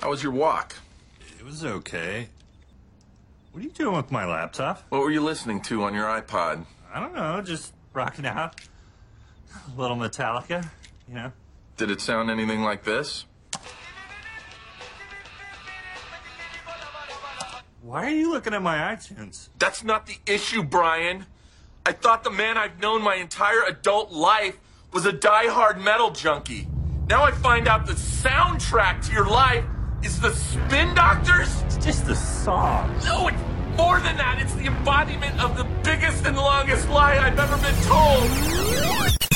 How was your walk? It was okay. What are you doing with my laptop? What were you listening to on your iPod? I don't know, just rocking out. A little Metallica, you know? Did it sound anything like this? Why are you looking at my iTunes? That's not the issue, Brian. I thought the man I've known my entire adult life was a die-hard metal junkie. Now I find out the soundtrack to your life is the Spin Doctors? It's just a song. No, it's more than that. It's the embodiment of the biggest and longest lie I've ever been told.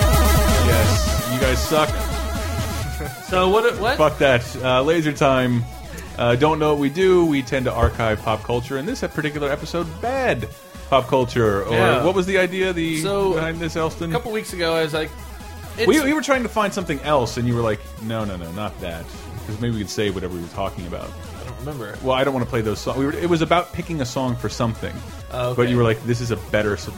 Yes, you guys suck. So what? What? Fuck that. Uh, laser time. Uh, don't know what we do. We tend to archive pop culture. In this particular episode, bad pop culture. Or Yeah. what was the idea? The So, behind this, Elston. A couple weeks ago, I was like, it's, we, we were trying to find something else, and you were like, "No, no, no, not that." Because maybe we could say whatever we were talking about. I don't remember. Well, I don't want to play those songs. We were, it was about picking a song for something, Oh, okay. but you were like, "This is a better s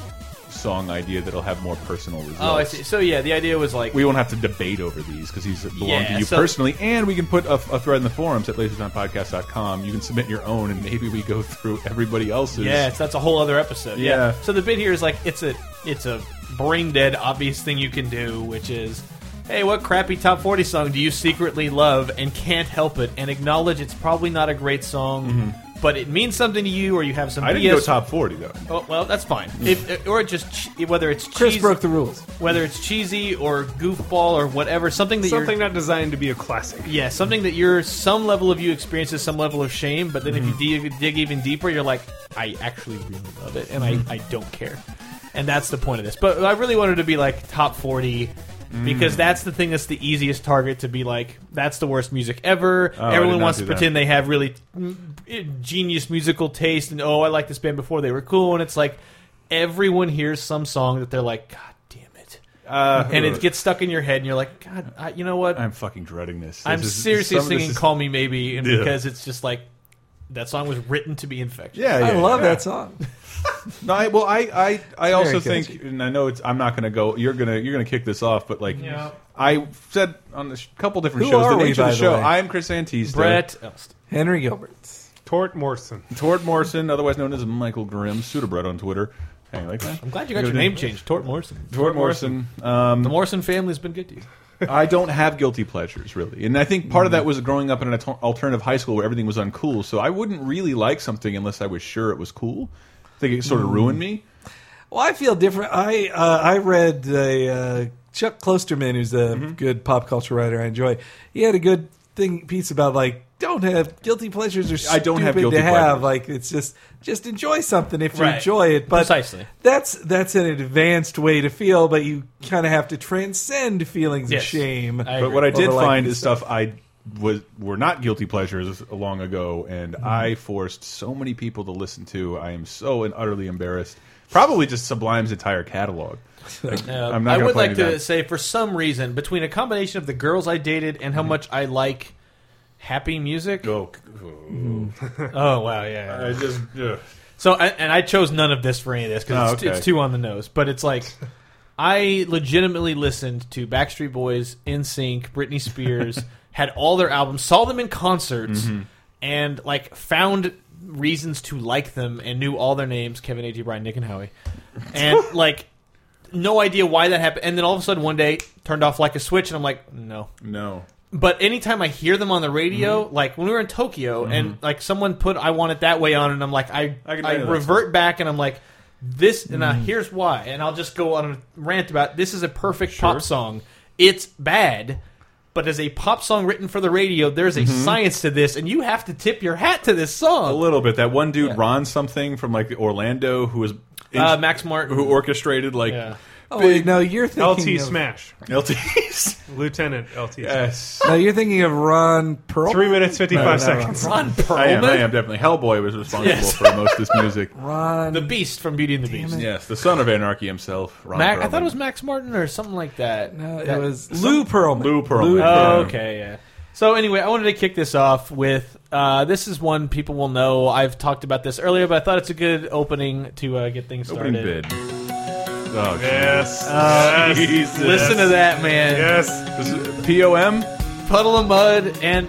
song idea that'll have more personal results." Oh, I see. So yeah, the idea was like, we won't have to debate over these because these belong Yeah, to you so- personally. And we can put a, a thread in the forums at lasertimepodcast.com. You can submit your own, and maybe we go through everybody else's. yes, that's a whole other episode. Yeah. Yeah. So the bit here is like, it's a it's a brain dead obvious thing you can do, which is, hey, what crappy top forty song do you secretly love and can't help it and acknowledge it's probably not a great song, but it means something to you or you have some Mm-hmm. I didn't go BS top Mm. forty though. Oh, well, that's fine. If, or just che- whether it's Chris cheese- broke the rules. whether it's cheesy or goofball or whatever, something that Something you're, not designed to be a classic. yeah, something that you're some level of you experiences some level of shame, but then if Mm-hmm. you dig, dig even deeper, you're like, I actually really love it, and Mm-hmm. I, I don't care, and that's the point of this. But I really wanted to be like top forty. Mm. Because that's the thing that's the easiest target to be like, that's the worst music ever. Oh, I did Everyone not wants do to that. pretend they have really mm, genius musical taste and, oh, I like this band before they were cool. And it's like, everyone hears some song that they're like, God damn it Uh, and it gets stuck in your head, and you're like, God, I, you know what? I'm, I'm fucking dreading this. This is- seriously some of this singing is- "Call Me Maybe" and Yeah. because it's just like that song was written to be infectious. Yeah, I yeah, love yeah. that song. No, I, well, I, I, I also catchy. think, and I know it's. I'm not going to go. You're gonna, you're gonna kick this off, but like, Yeah. I said on a sh- couple different Who shows. are the we, nature by of the the show. way? I'm Chris Antista. Brett Elst. Henry Gilbert. Tort Morrison. Tord Morrison, otherwise known as Michael Grimm, pseudobred on Twitter. Hey, like that. I'm glad you got your name changed, Tort Morrison. Tort Morrison. the Morrison family's been good to you. I don't have guilty pleasures really, and I think part of Mm-hmm. that was growing up in an alter- alternative high school where everything was uncool. So I wouldn't really like something unless I was sure it was cool. I think it Mm-hmm. sort of ruined me. Well, I feel different. I uh, I read a, uh, Chuck Klosterman, who's a Mm-hmm. good pop culture writer I enjoy. He had a good thing piece about like don't have guilty pleasures or I don't have stupid guilty to have. pleasures. Like it's just just enjoy something if you Right. enjoy it. But Precisely. that's that's an advanced way to feel, but you kind of have to transcend feelings Yes. of shame. I- But what I agree. did Over, like, find this is stuff I was were not guilty pleasures long ago, and Mm-hmm. I forced so many people to listen to. I am so and utterly embarrassed. Probably just Sublime's entire catalog. Like, Uh, I'm not. I gonna would play like any of to that. say, for some reason, between a combination of the girls I dated Mm-hmm. and how much I like happy music. Oh, Oh, wow, yeah. yeah. I just. ugh. So, I, and I chose none of this for any of this because Oh, it's, okay. it's too on the nose. But it's like, I legitimately listened to Backstreet Boys, NSYNC, Britney Spears, had all their albums, saw them in concerts, Mm-hmm. and like found reasons to like them and knew all their names Kevin, A.G., Brian, Nick, and Howie. And like, no idea why that happened. And then all of a sudden, one day, turned off like a switch, and I'm like, no. No. But anytime I hear them on the radio, Mm-hmm. like when we were in Tokyo and like someone put "I Want It That Way" on, and I'm like, I I can Mm. relate I, to that. revert back and I'm like, this and uh, here's why, and I'll just go on a rant about this is a perfect pop song. It's bad, but as a pop song written for the radio, there's a Mm-hmm. science to this, and you have to tip your hat to this A song. little bit. That one dude, Ron something from like Orlando, who was Uh, Max Martin. who orchestrated like Yeah. Oh wait, no, you're thinking LT of, Smash. LTs. Lieutenant LT. Uh, Smash. Yes. No, you're thinking of Ron Perl. Three minutes, 55 No, no, seconds. Ron Perlman, I am. I am definitely. Hellboy was responsible for most of this music. Ron. uh, the Beast from Beauty and the Beast. Yes, the son of anarchy himself. Ron Mac, I Perlman. thought it was Max Martin or something like that. no, it That- was Lou Pearlman. Lou Pearlman. Pearlman. Oh, okay, yeah. So anyway, I wanted to kick this off with uh, this is one people will know. I've talked about this earlier, but I thought it's a good opening to uh, get things started. opening bid. Oh, Yes. Uh, yes. Jesus. Listen to that, man. Yes. This is POM. Puddle of mud, and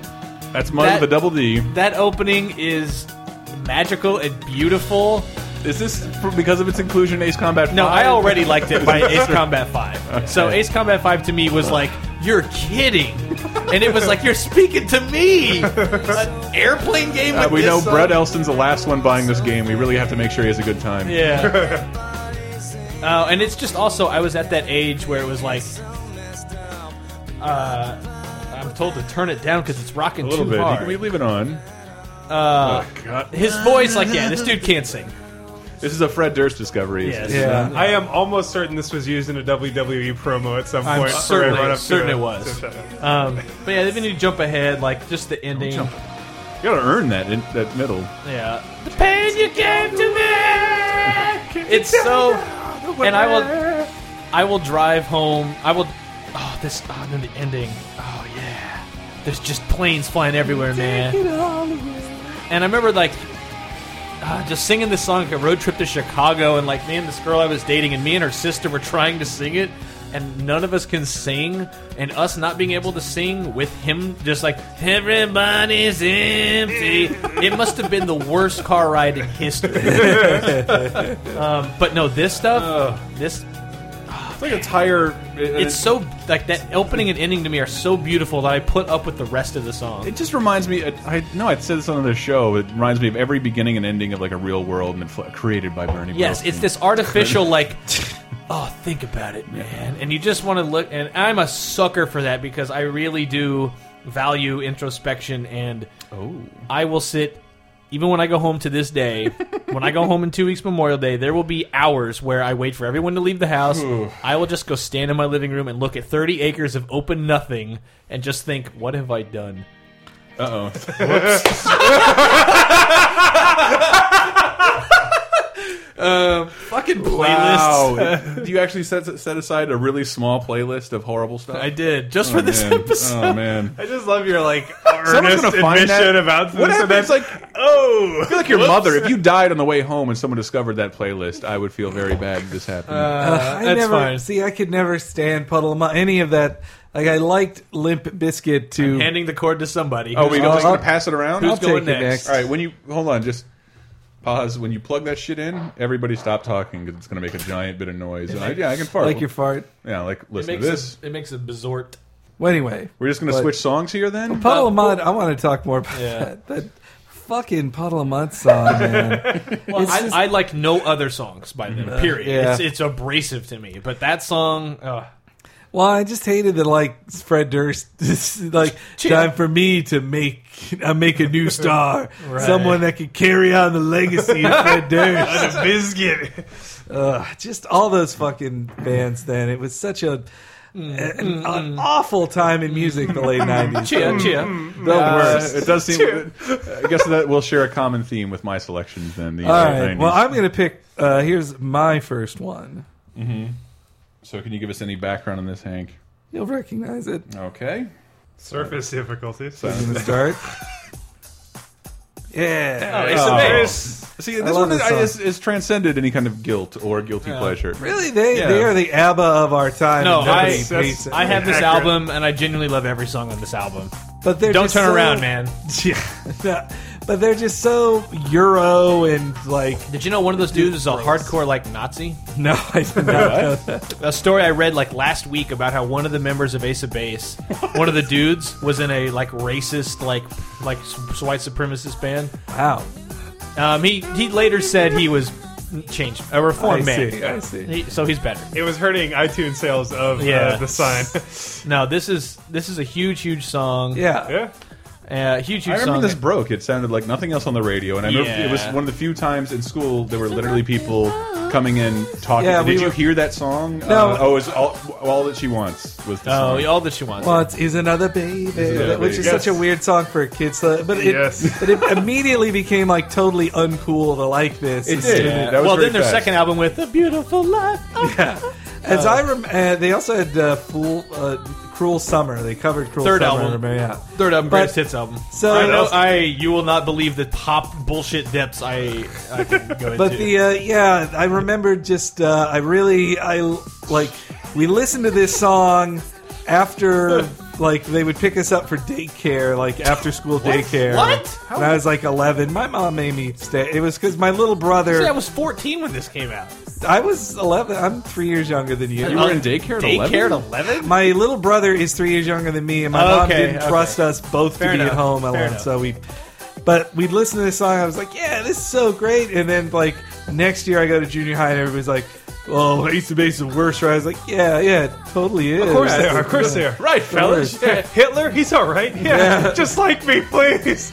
That's Mud That- with a double D. that opening is magical and beautiful. Is this for, because of its inclusion in Ace Combat? No, I 5? already liked it by Ace Combat 5. So Ace Combat 5 to me was like, you're kidding. And it was like, you're speaking to me. An airplane game Uh, with we this know song? Brett Elston's the last one buying this game. We really have to make sure he has a good time. Yeah. uh, and it's just also, I was at that age where it was like, uh, I'm told to turn it down because it's rocking A little too bit. hard. We leave it on. Uh, God. his voice, like, yeah, this dude can't sing. This is a Fred Durst discovery. Yes. Yeah. I am almost certain this was used in a WWE promo at some I'm point. certain- right up to certain the- it was. to the- Um, but yeah, even you jump ahead, like, just the ending. jump. You gotta earn that in, that middle. Yeah. The pain you gave to me. It's so, and I will, I will drive home. I will. Oh, this. Oh, and then the ending. Oh yeah. There's just planes flying everywhere, man. And I remember like. Uh, just singing this song like a road trip to Chicago, and like me and this girl I was dating, and me and her sister were trying to sing it, and none of us can sing, and us not being able to sing with him, just like everybody's empty. it must have been the worst car ride in history. um, but no, this stuff, this It's like a tire. it's so like that opening and ending to me are so beautiful that I put up with the rest of the song. It just reminds me. I know I said this on another show. It reminds me of every beginning and ending of like a real world and fl- created by Bernie. Yes, Brooks. it's this artificial like. Oh, think about it, man. And you just want to look. And I'm a sucker for that because I really do value introspection. And Oh. I will sit, even when I go home to this day, when I go home in two weeks, Memorial Day, there will be hours where I wait for everyone to leave the house. I will just go stand in my living room and look at 30 acres of open nothing and just think, what have I done? Uh oh. Fucking playlists. Wow. Do you actually set set aside a really small playlist of horrible stuff? I did just for this man. episode. Oh man. I just love your like Someone's earnest gonna find admission that. about What this. and happens? then- Like, oh, I feel like your mother. If you died on the way home and someone discovered that playlist, I would feel very bad. This happened. Uh, I That's never fine. see. I could never stand puddle of mud. Any of that. Like I liked Limp Biscuit to. Handing the cord to somebody. oh, we uh, just gonna uh, pass it around. I'll who's going take it next? All right, when you hold on, just pause. When you plug that shit in, everybody stop talking because it's going to make a giant bit of noise. And I, yeah, I can fart. like your fart. yeah, like It listen to makes this. A, it makes a bizort. Well, anyway, We're just going to but- switch songs here then. Puddle of Mud. I want to talk more about Yeah. that. That fucking Puddle of Mud song, man. Well, It's I, just- I like no other songs by them. Period. Yeah. It's, it's abrasive to me, but that song. Uh, well, I just hated that. Like Fred Durst, this is like time for me to make uh, make a new star, someone that could carry on the legacy of Fred Durst. a biscuit. Ugh, just all those fucking bands. Then it was such a. An, an awful time in music, the late nineties. Mm-hmm. chia, chia. Mm. The worst. uh, It does seem. I guess that we'll share a common theme with my selections then. The All uh, right. 90s. Well, I'm going to pick. Uh, here's my first one. so can you give us any background on this, Hank? You'll recognize it. Okay. Uh, Surface difficulties. I'm going to start. yeah. Ace of Base. See, this love one is, this I- song. is, is transcended any kind of guilt or guilty pleasure. Really, they Yeah. they are the ABBA of our time. No, and nobody I- hates it. I have this Accurate. album, and I genuinely love every song on this album. But they're Don't just turn so- around, man. Yeah. but they're just so Euro and like. Did you know one of those dudes is a hardcore like Nazi? No, I did not know that. a story I read like last week about how one of the members of Ace of Base, one of the dudes, was in a like racist like like s- white supremacist band. Wow. Um, he he later said he was changed a reformed I man. see. I see. He- so he's better. It was hurting iTunes sales of uh, Yeah. the sign. No, this is this is a huge huge song. Yeah. yeah. Uh, huge, huge I remember song. this broke. It sounded like nothing else on the radio, and I remember Yeah. it was one of the few times in school there were literally people coming in talking. Yeah, Did we you were- hear that song? No. Uh, oh, it was all, all that she wants was the oh, song. yeah, all that she wants. Wants is another baby, Another which Baby. is Yes. such a weird song for a kid's. But it, Yes. but it immediately became like totally uncool to like this. It It's did. just- That was well, very then their fast. second album with "The Beautiful Life." Oh, As I rem- uh, they also had uh, Fool, uh, Cruel Summer. They covered Cruel Third Summer. album. remember, yeah. Third album, But- greatest hits album. So- I, know, I you will not believe the pop bullshit depths I, I can go But into. the uh, yeah, I remember just uh, I really I like we listened to this song after like they would pick us up for daycare, like after school daycare. What? When I was like eleven, my mom made me stay. It was because my little brother. See, I was 14 when this came out. I was eleven. I'm three years younger than you. You were in daycare at Daycare at 11? 11? My little brother is three years younger than me, and my Oh, mom okay, didn't okay. trust us both Fair to be enough, at home fair alone. enough. So we, but we'd listen to this song. I was like, "Yeah, this is so great!" And then like next year, I go to junior high, and everybody's like, "Oh, Ace of Base is worse." Right? I was like, "Yeah, yeah, it totally is." Of course they are. Of course they are. Right, fellas. Yeah. Hitler, he's all right. Yeah. Just like me, please.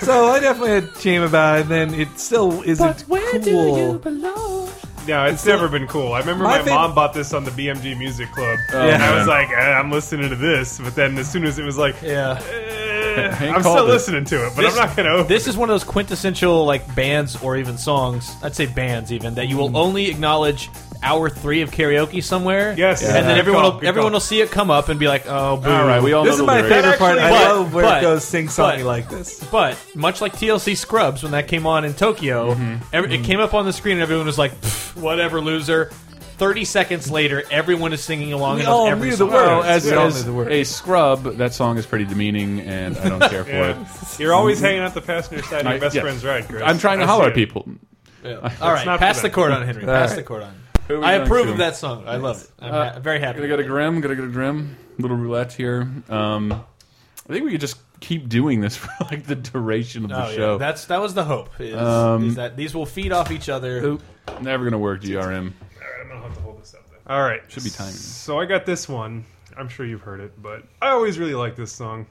So I definitely had shame about it. And then it still isn't cool. belong? no, it's never been cool. I remember My my, favorite- mom bought this on the BMG Music Club. Yeah. And I was like, eh, I'm listening to this. But then as soon as it was like, Yeah. eh, Hank I'm still called it. listening to it, but This- I'm not going to open This is one of those quintessential like bands or even songs. I'd say bands even that you will only acknowledge hour three of karaoke somewhere. Yes. Yeah. and then Good everyone call, will, good everyone call. will see it come up and be like, "Oh, boo." All right, we all This is know the my lyrics. favorite part. I But- love where but- it goes sing songy but- like this. But much like TLC Scrubs, when that came on in Tokyo, every, it came up on the screen and everyone was like, "Pfft, "Whatever, loser." Thirty seconds later, everyone is singing along. We and knows all every knew the song. words. Well, as, We all as know the words. a scrub, that song is pretty demeaning, and I don't care for Yeah. it. You're always hanging out the passenger side of I- your best yes. friend's ride, Chris. I'm trying to I holler see at it. people. All right, not pass for the them. chord on Henry. Pass right. the chord on. Who are we I going approve to? of that song. I love it. I'm ha- very happy. Gonna go to Grim. Gonna go to Grim. Little roulette here. Um, I think we could just keep doing this for like the duration of the Oh, yeah. show. Um, That's that was the hope. Is, is that these will feed off each other. Oh, Never gonna work. DRM. All right, I'm going to have to hold this up then. All right. Should be timing. So I got this one. I'm sure you've heard it, but I always really like this song.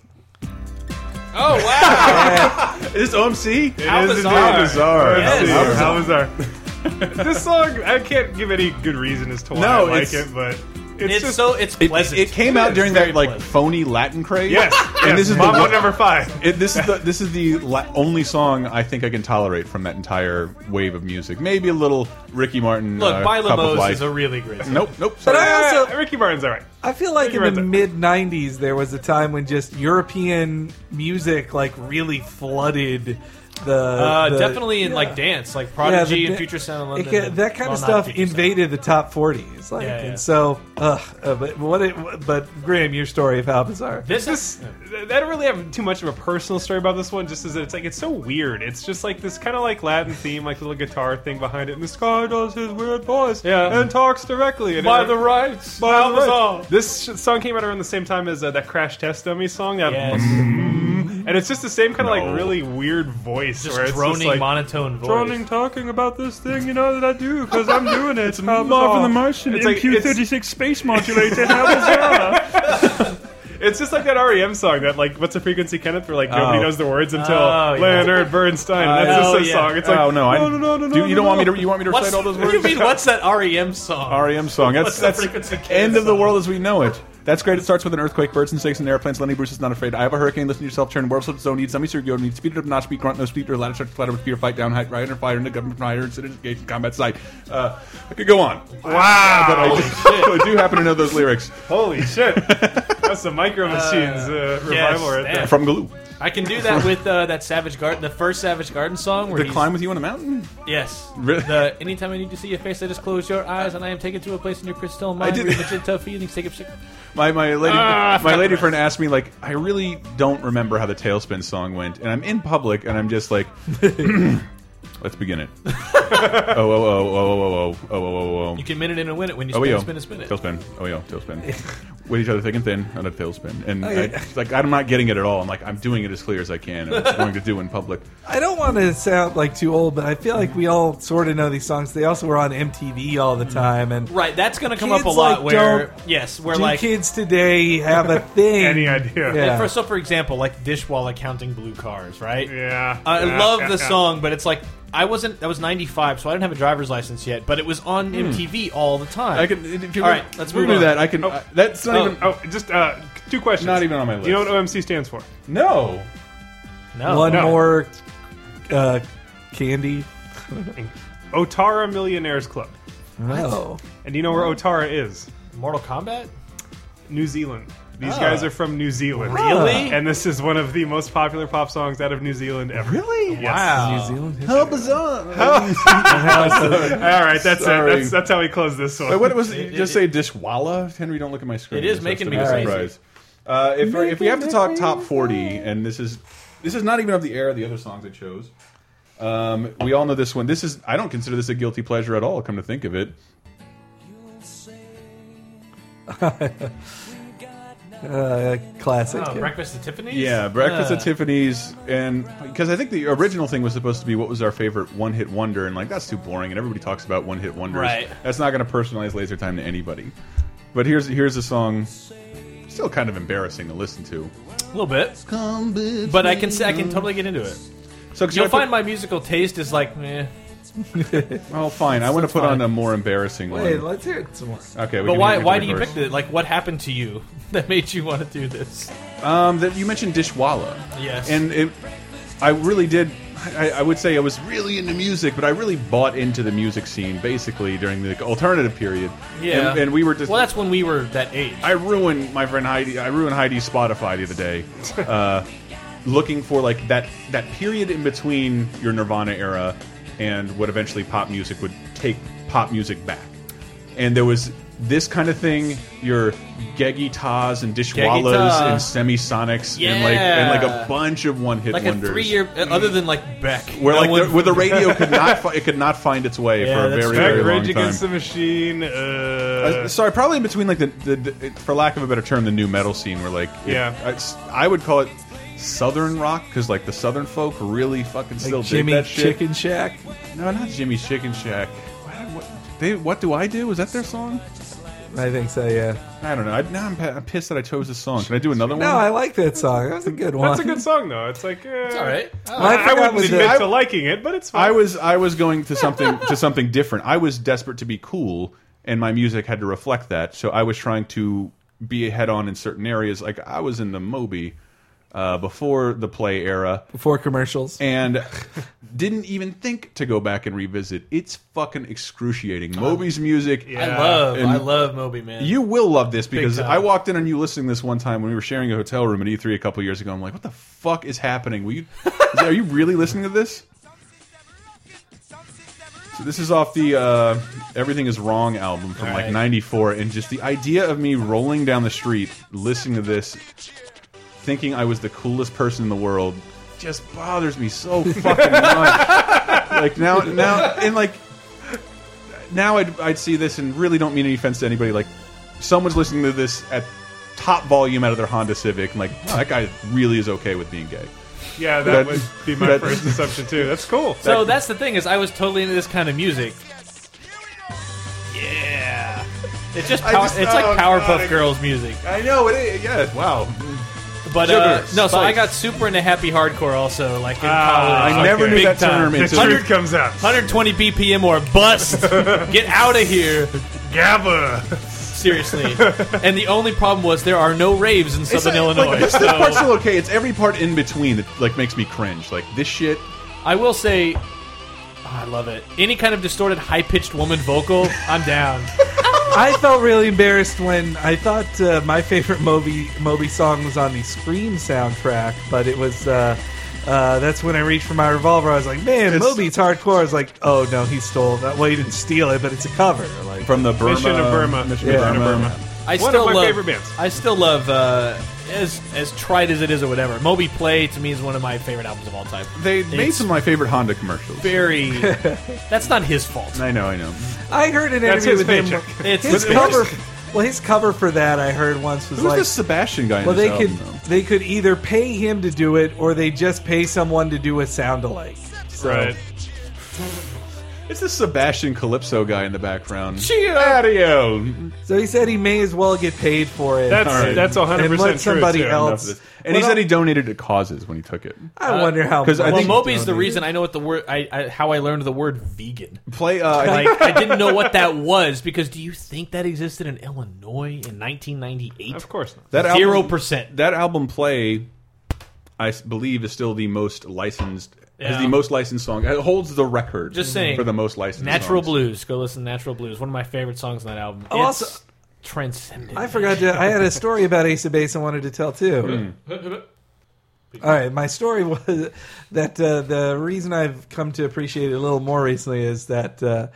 Oh wow! Is this OMC? It How is bizarre. indeed. Bizarre. Let's see. Yes. How bizarre. this song, I can't give any good reason as to why No, I like it's- it, but it's, it's just, so it's It, pleasant. it came out during very that like pleasant. phony Latin craze. Yes, and this is the Mambo one- number five. It, this is the this is the la only song I think I can tolerate from that entire wave of music. Maybe a little Ricky Martin. Look, uh, Bila Cup of Mose Life. is a really great. Song. nope, nope. But sorry. I also- Uh, Ricky Martin's all right. I feel like You're in the right mid '90s there was a time when just European music like really flooded the. Uh, the- definitely in yeah. like dance, like Yeah, Prodigy the- and Future Sound of it London. ca- and- that kind well, of not stuff Future Sound. invaded the top 40s. Like, Yeah, yeah. and so, ugh, uh, but what? It, but Graham, your story of how bizarre. This, This, I don't really have too much of a personal story about this one. Just as it's like it's so weird. It's just like this kind of like Latin theme, like little guitar thing behind it. And this guy does his weird voice, Yeah. and talks directly. And by it- the rights, by the way, all. This sh- song came out around the same time as uh, that Crash Test Dummy song. That, Yes, Mm. And it's just the same kind of No. like really weird voice, just where it's droning, just like monotone voice. droning, talking about this thing, you know that I do because I'm doing it. It's Marvin the Martian, It's like it's, space modulator. it's just like that REM song that like what's the frequency, Kenneth? Where like nobody Oh. knows the words until Oh, yeah. Leonard Bernstein. Uh, That's oh, just a yeah. song. It's like oh no, I, no, no, no, no, Do, you no, don't want me no. to? You want me to What's recite all those what do you words? mean? What's that REM song? REM song. That's What's the that's frequency kid end of the song? world as we know it. That's great. It starts with an earthquake, birds and snakes and airplanes. Lenny Bruce is not afraid. I have a hurricane. Listen to yourself. Turn world slip zone. Need semi go. Need speed it up. Not speed. Grunt no speed. Or ladder start clatter with fear. Fight down. Height. Rider fire. Into government rider. Incident. Engage. Combat site. Uh, I could go on. Wow! But I do, I do happen to know those lyrics Holy shit! That's the Micro Machines uh, revival right damn. there. E from Galoo. I can do that with uh, that Savage Garden, the first Savage Garden song. Where The he's- climb with you on a mountain. Yes. Really? The anytime I need to see your face, I just close your eyes, and I am taken to a place in your crystal mind. did- where magenta feelings take up. sig- My my lady Ah, my I forgot lady the rest. friend asked me like I really don't remember how the tailspin song went, and I'm in public and I'm just like, let's begin it. oh oh oh oh oh oh oh oh oh oh oh. You can minute it and win it when you Oh spin, yo, spin, and spin it. tailspin. Oh yo, tailspin. with each other thick and thin on a tailspin. And Oh, Okay. I, it's like I'm not getting it at all. I'm like I'm doing it as clear as I can. And what I'm going to do in public. I don't want to sound like too old, but I feel like we all sort of know these songs. They also were on MTV all the time, and Mm-hmm. Right, that's going to come Kids, up a lot. like, where don't yes, where do like kids today have a thing? Any idea? Yeah. for, so for example, like Dish While Counting Blue Cars, right? Yeah. I Yeah, love yeah, the yeah. song, but it's like I wasn't. That was '95, so I didn't have a driver's license yet. But it was Hmm. on MTV all the time. I can. If you All right, let's we'll move do on. that. I can. I- that's not even. Oh, just uh, two questions. Not even on my Do you know what list. OMC stands for? no. no, One No. more uh, candy. Otara Millionaires Club. No. And do you know where Otara is? Mortal Kombat. New Zealand. These Oh. guys are from New Zealand. Really? And this is one of the most popular pop songs out of New Zealand ever. Really? Yes. Wow. New Zealand history. How bizarre. All right, that's Sorry. it. That's, that's how he closed this one. Wait, what was It- just it- say dishwalla? Henry, don't look at my screen. It is That's making to me be a crazy. surprise. Uh, if we if we have to talk top forty, and this is this is not even of the air. The other songs I chose, um, we all know this one. This is I don't consider this a guilty pleasure at all. Come to think of it, Uh, classic. Oh, Breakfast at Tiffany's. yeah, Breakfast at Uh. Tiffany's, and because I think the original thing was supposed to be what was our favorite one hit wonder, and like that's too boring, and everybody talks about one hit wonders. Right. That's not going to personalize Laser Time to anybody. But here's here's a song, still kind of embarrassing to listen to. a little bit. But I can I can totally get into it. So 'cause You'll I put- find my musical taste is like, meh. Oh, fine. I want to put fine. on a more embarrassing Wait, one. let's hear it some more. Okay, we But can why do why do you first. pick it? Like, what happened to you that made you want to do this? Um, that you mentioned Dishwalla. Yes. and it, I really did. I, I would say I was really into music, but I really bought into the music scene basically during the alternative period. Yeah. and, and we were just. well, that's when we were that age. I ruined my friend Heidi. I ruined Heidi's Spotify the other day, uh, looking for like that that period in between your Nirvana era and what eventually pop music would take pop music back. And there was this kind of thing: your Geggy Tas and Dishwallas Ta. and Semisonics and like and like Yeah. a bunch of one hit like a wonders. three year, other than like Beck. where no like one- the, where the radio could not fi it could not find its way Yeah, for a that's very true. very long Rage time. Against the Machine. Uh, Uh, sorry, probably in between like the, the, the for lack of a better term, the new metal scene, where like it- Yeah. it's- I would call it southern rock because like the southern folk really fucking still dig Jimmy that shit. Chicken Shack. No, not Jimmy's Chicken Shack. What, what, they, what do I do? Is that their song? I think so. Yeah. I don't know. I, now I'm, pa- I'm pissed that I chose this song. Can I do another one? No, I like that song. That was a good one. that's a good song, though. It's like. Uh, it's all right. I, I, forgot wouldn't was admit that- to liking it, but it's fine. I was I was going to something to something different. I was desperate to be cool, and my music had to reflect that. So I was trying to be ahead on in certain areas. Like I was in the Moby uh, before the play era, before commercials. and didn't even think to go back and revisit. It's fucking excruciating. Moby's music. I love, And- I love Moby Man. You will love this because time. I walked in on you listening this one time when we were sharing a hotel room at E3 a couple years ago. I'm like, what the fuck is happening? Will you, are you really listening to this? So this is off the uh, Everything Is Wrong album from like Alright. '94, and just the idea of me rolling down the street listening to this, thinking I was the coolest person in the world, just bothers me so fucking much. like now, now, and like now, I'd I'd see this and really don't mean any offense to anybody. Like someone's listening to this at top volume out of their Honda Civic, and like "Oh, that guy really is okay with being gay. yeah, that- that, would be my that- first assumption too. That's cool. so that's the thing is, I was totally into this kind of music. Yeah, it's just, power, just- it's oh, God, like Powerpuff I- Girls music. I know it is. Yeah, wow. But uh, Sugar, no, so I spice. got super into happy hardcore also, like in Ah. college. uh, I never okay. knew Big that time. term. Uh, the until- truth comes out. 120 BPM or bust. Get out of here. GABA. Seriously. and the only problem was there are no raves in It's Southern not- Illinois. Like, this, so this part's still okay. It's every part in between that like makes me cringe. Like this shit. I will say, oh, I love it. Any kind of distorted, high pitched woman vocal, I'm down. I felt really embarrassed when I thought uh, my favorite Moby Moby song was on the Scream soundtrack, but it was. Uh, uh, that's when I reached for my revolver. I was like, "Man, It's- Moby's hardcore." I was like, "Oh no, he stole that. Well, he didn't steal it, but it's a cover." Like, From the Burma, Mission to Burma. Mission Yeah. to Burma. I One still of my love, favorite bands. I still love, uh, as as tried as it is or whatever. Moby Play to me is one of my favorite albums of all time. They made It's some of my favorite Honda commercials. Very. that's not his fault. I know, I know. I heard an That's interview his with him. paycheck. It's His it's- cover, Well, his cover for that I heard once was Who's like this Sebastian guy? in Well, this they could album, though? they could either pay him to do it or they just pay someone to do a sound alike. Right. It's this Sebastian Calypso guy in the background. Cheer. Adio. So he said he may as well get paid for it. That's Alright. that's 100 and percent let somebody true, too. Enough of else. this. And he Well, said he donated to causes when he took it. I wonder how. 'cause I Well, much think- he's Moby's the donated. reason I know what the word I, I how I learned the word vegan. Play. Uh, I think Like I didn't know what that was because do you think that existed in Illinois in 1998? Of course not. that album- Zero percent. That album play, I s- believe, is still the most licensed. Has Yeah. the most licensed song. It holds the record. Just saying. for the most licensed. Natural songs. Blues. Go listen to Natural Blues. One of my favorite songs on that album. It's Oh, also- transcendent. I forgot to. I had a story about Ace of Base I wanted to tell too. All right, my story was that uh, the reason I've come to appreciate it a little more recently is that uh,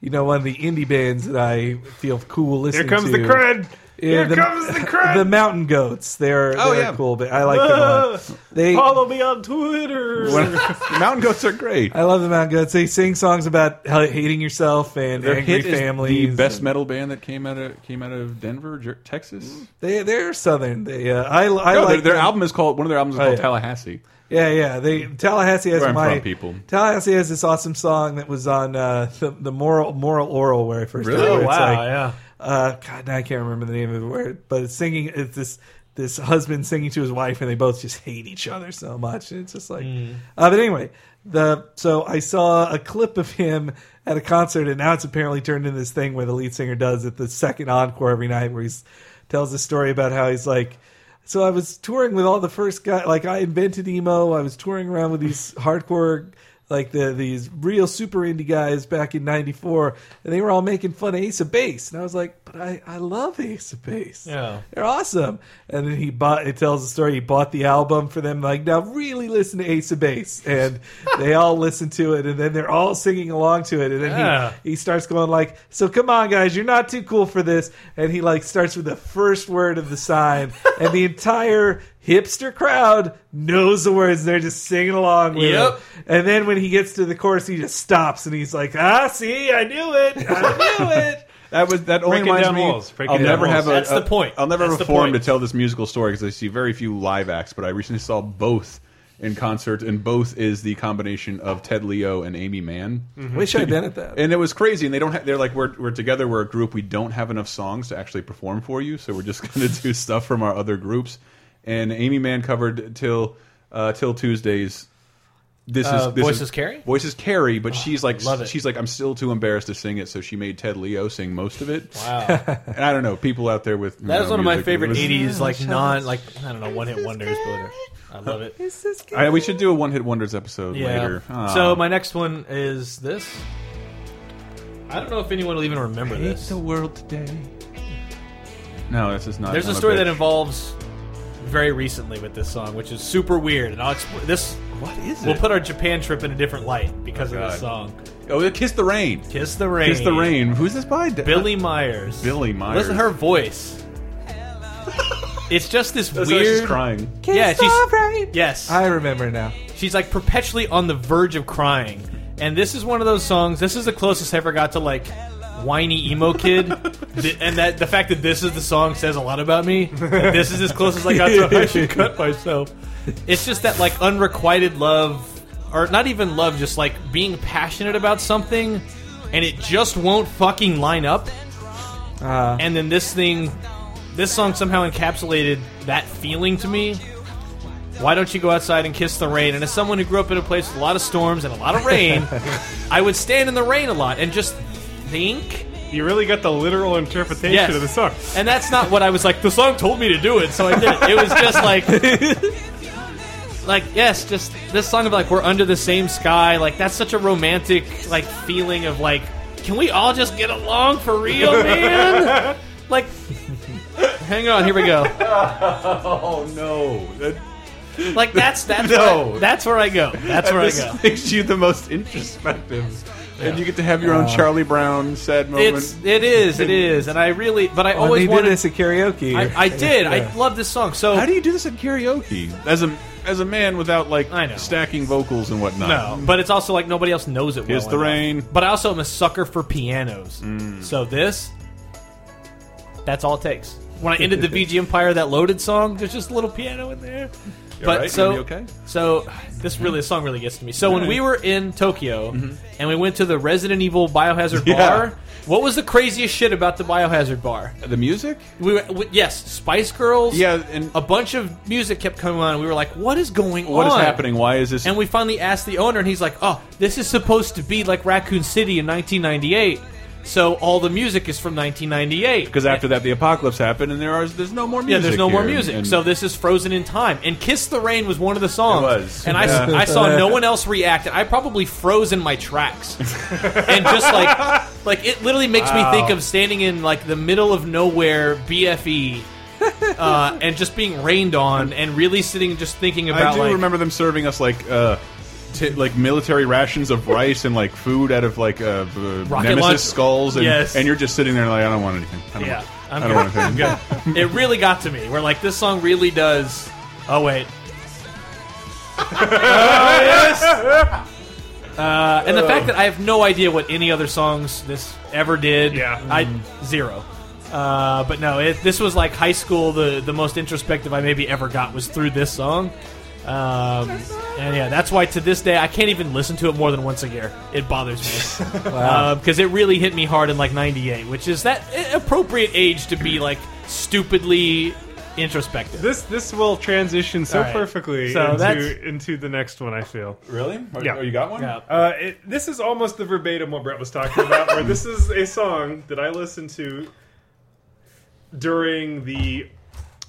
you know one of the indie bands that I feel cool Here listening to. comes the crud. Yeah, Here comes the crud. The Mountain Goats. They're, Oh, they're yeah. cool, but I like them. a lot. They Follow me on Twitter. When- Mountain Goats are great. I love the Mountain Goats. They sing songs about how- hating yourself and Their angry hit is families. the best metal band that came out of came out of Denver, Jer- Texas. They they're southern. They uh, I I No, like their, their them. album is called one of their albums is Oh, called yeah. Tallahassee. Yeah, yeah. They Tallahassee has Where I'm my from, people. Tallahassee has this awesome song that was on uh, the, the moral moral oral where I first Really? heard it. Oh, It's wow, like, yeah. uh, God, now I can't remember the name of it. Where, but it's singing. It's this this husband singing to his wife, and they both just hate each other so much. And it's just like, uh, but anyway, the so I saw a clip of him at a concert, and now it's apparently turned into this thing where the lead singer does at the second encore every night, where he tells a story about how he's like. So I was touring with all the first guy. Like I invented emo. I was touring around with these hardcore, like the these real super indie guys back in '94, and they were all making fun of Ace of Base, and I was like, "But I, I love Ace of Base. Yeah. they're awesome." And then he bought. It tells the story. He bought the album for them. Like now, really listen to Ace of Base, and they all listen to it, and then they're all singing along to it, and then Yeah. he he starts going like, "So come on, guys, you're not too cool for this." And he like starts with the first word of the sign, and the entire hipster crowd knows the words. They're just singing along with Yep. him. And then when he gets to the chorus, he just stops and he's like, "Ah, see, I knew it, I knew it." That was that only Breaking reminds down me. walls. Breaking I'll down never walls. have a. That's the a- point. I'll never That's have a the forum to point. tell this musical story because I see very few live acts. But I recently saw both in concert, and both is the combination of Ted Leo and Amy Mann. Wish I'd been at that. And it was crazy, and they don't. Have, they're like, we're we're together. We're a group. We don't have enough songs to actually perform for you, so we're just going to do stuff from our other groups. And Amy Mann covered till uh, till Tuesdays. This Uh, is this Voices is, Carry? Oh, Voices Carry, but she's like love it. she's like I'm still too embarrassed to sing it, so she made Ted Leo sing most of it. Wow. And I don't know people out there with That is one of my favorite eighties. '80s, like non, like I don't know, one hit wonders. But I love it. This is good. I, we should do a one hit wonders episode Yeah. later. Ah. So my next one is this. I don't know if anyone will even remember this. world today. No, this is not. There's I'm a story that bitch. involves very recently with this song, which is super weird, and I'll explain this. what is We'll it? put our Japan trip in a different light because Oh, of this God. song. oh, kiss the rain. Kiss the rain. Kiss the Rain. Who's this by? Billy Myers. Billy Myers. Listen to her voice. it's just this That's how weird. She's crying. Yeah, It's all right. Yes. I remember now. She's like perpetually on the verge of crying. And this is one of those songs. This is the closest I ever got to like whiny emo kid. Th- and that the fact that this is the song says a lot about me. That This is as close as I got to I should cut myself. It's just that like unrequited love or not even love just like being passionate about something and it just won't fucking line up. and then this thing this song somehow encapsulated that feeling to me. Why don't you go outside and kiss the rain? And as someone who grew up in a place with a lot of storms and a lot of rain, I would stand in the rain a lot and just think. You really got the literal interpretation Yes. of the song. And that's not what I was like, the song told me to do it, so I did it. It was just like. Like yes, just this song of like we're under the same sky. Like that's such a romantic like feeling of like, can we all just get along for real, man? like, hang on, here we go. Oh no! That Like that's that's No. where I, that's where I go. That's where I this go. makes you the most introspective, and you get to have your own Charlie Brown sad moment. Uh, It's it is it is, and I really but I When they always did wanted. this at karaoke. I, I did. Yeah. I love this song. So How do you do this at karaoke as a as a man without like I know. stacking vocals and whatnot? no, but it's also like nobody else knows it. Kiss well the enough. rain. Mm. But I also am a sucker for pianos. So this That's all it takes. When I ended the VG Empire, that loaded song, there's just a little piano in there. but right? so You okay? so this really the song really gets to me. So when we were in Tokyo and we went to the Resident Evil Biohazard Mm-hmm. Yeah. bar, what was the craziest shit about the Biohazard bar? The music? We were, we, yes, Spice Girls. Yeah, and- a bunch of music kept coming on. and We were like, "What is going on? What is happening? Why is this? And we finally asked the owner, and he's like, "Oh, this is supposed to be like Raccoon City in 1998, so all the music is from 1998." Because after that, the apocalypse happened, and there are there's no more music. yeah, there's no more here, music, and- so this is frozen in time. And "Kiss the Rain" was one of the songs, It was. and I, Yeah. I saw no one else react. And I probably froze in my tracks, and just like like it literally makes me think of standing in like the middle of nowhere, BFE. Uh, and just being rained on, and really sitting, and just thinking about I do like remember them serving us like uh, ti like military rations of rice and like food out of like uh, b- nemesis lunch. skulls, and, Yes. and you're just sitting there like I don't want anything. I don't Yeah, want, I'm I don't want anything. it really got to me. We're like, this song really does. Oh wait. Oh, yes! Uh, and the fact that I have no idea what any other songs this ever did, Yeah. I zero. Uh, but no, it, this was like high school. The the most introspective I maybe ever got was through this song. Um, and yeah, that's why to this day I can't even listen to it more than once a year. It bothers me because it really hit me hard in like '98, which is that eh, appropriate age to be like stupidly introspective. This this will transition so All right. perfectly So that's- into, into the next one. I feel. Really? Are, Yeah. oh, you got one? Yeah. Uh, it, this is almost the verbatim what Brett was talking about. where this is a song that I listened to during the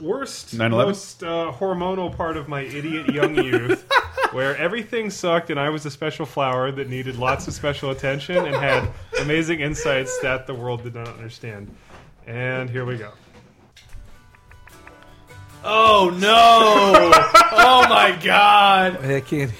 worst, 9/11? most uh, hormonal part of my idiot young youth, where everything sucked and I was a special flower that needed lots of special attention and had amazing insights that the world did not understand. And here we go. Oh no! oh my god! I can't.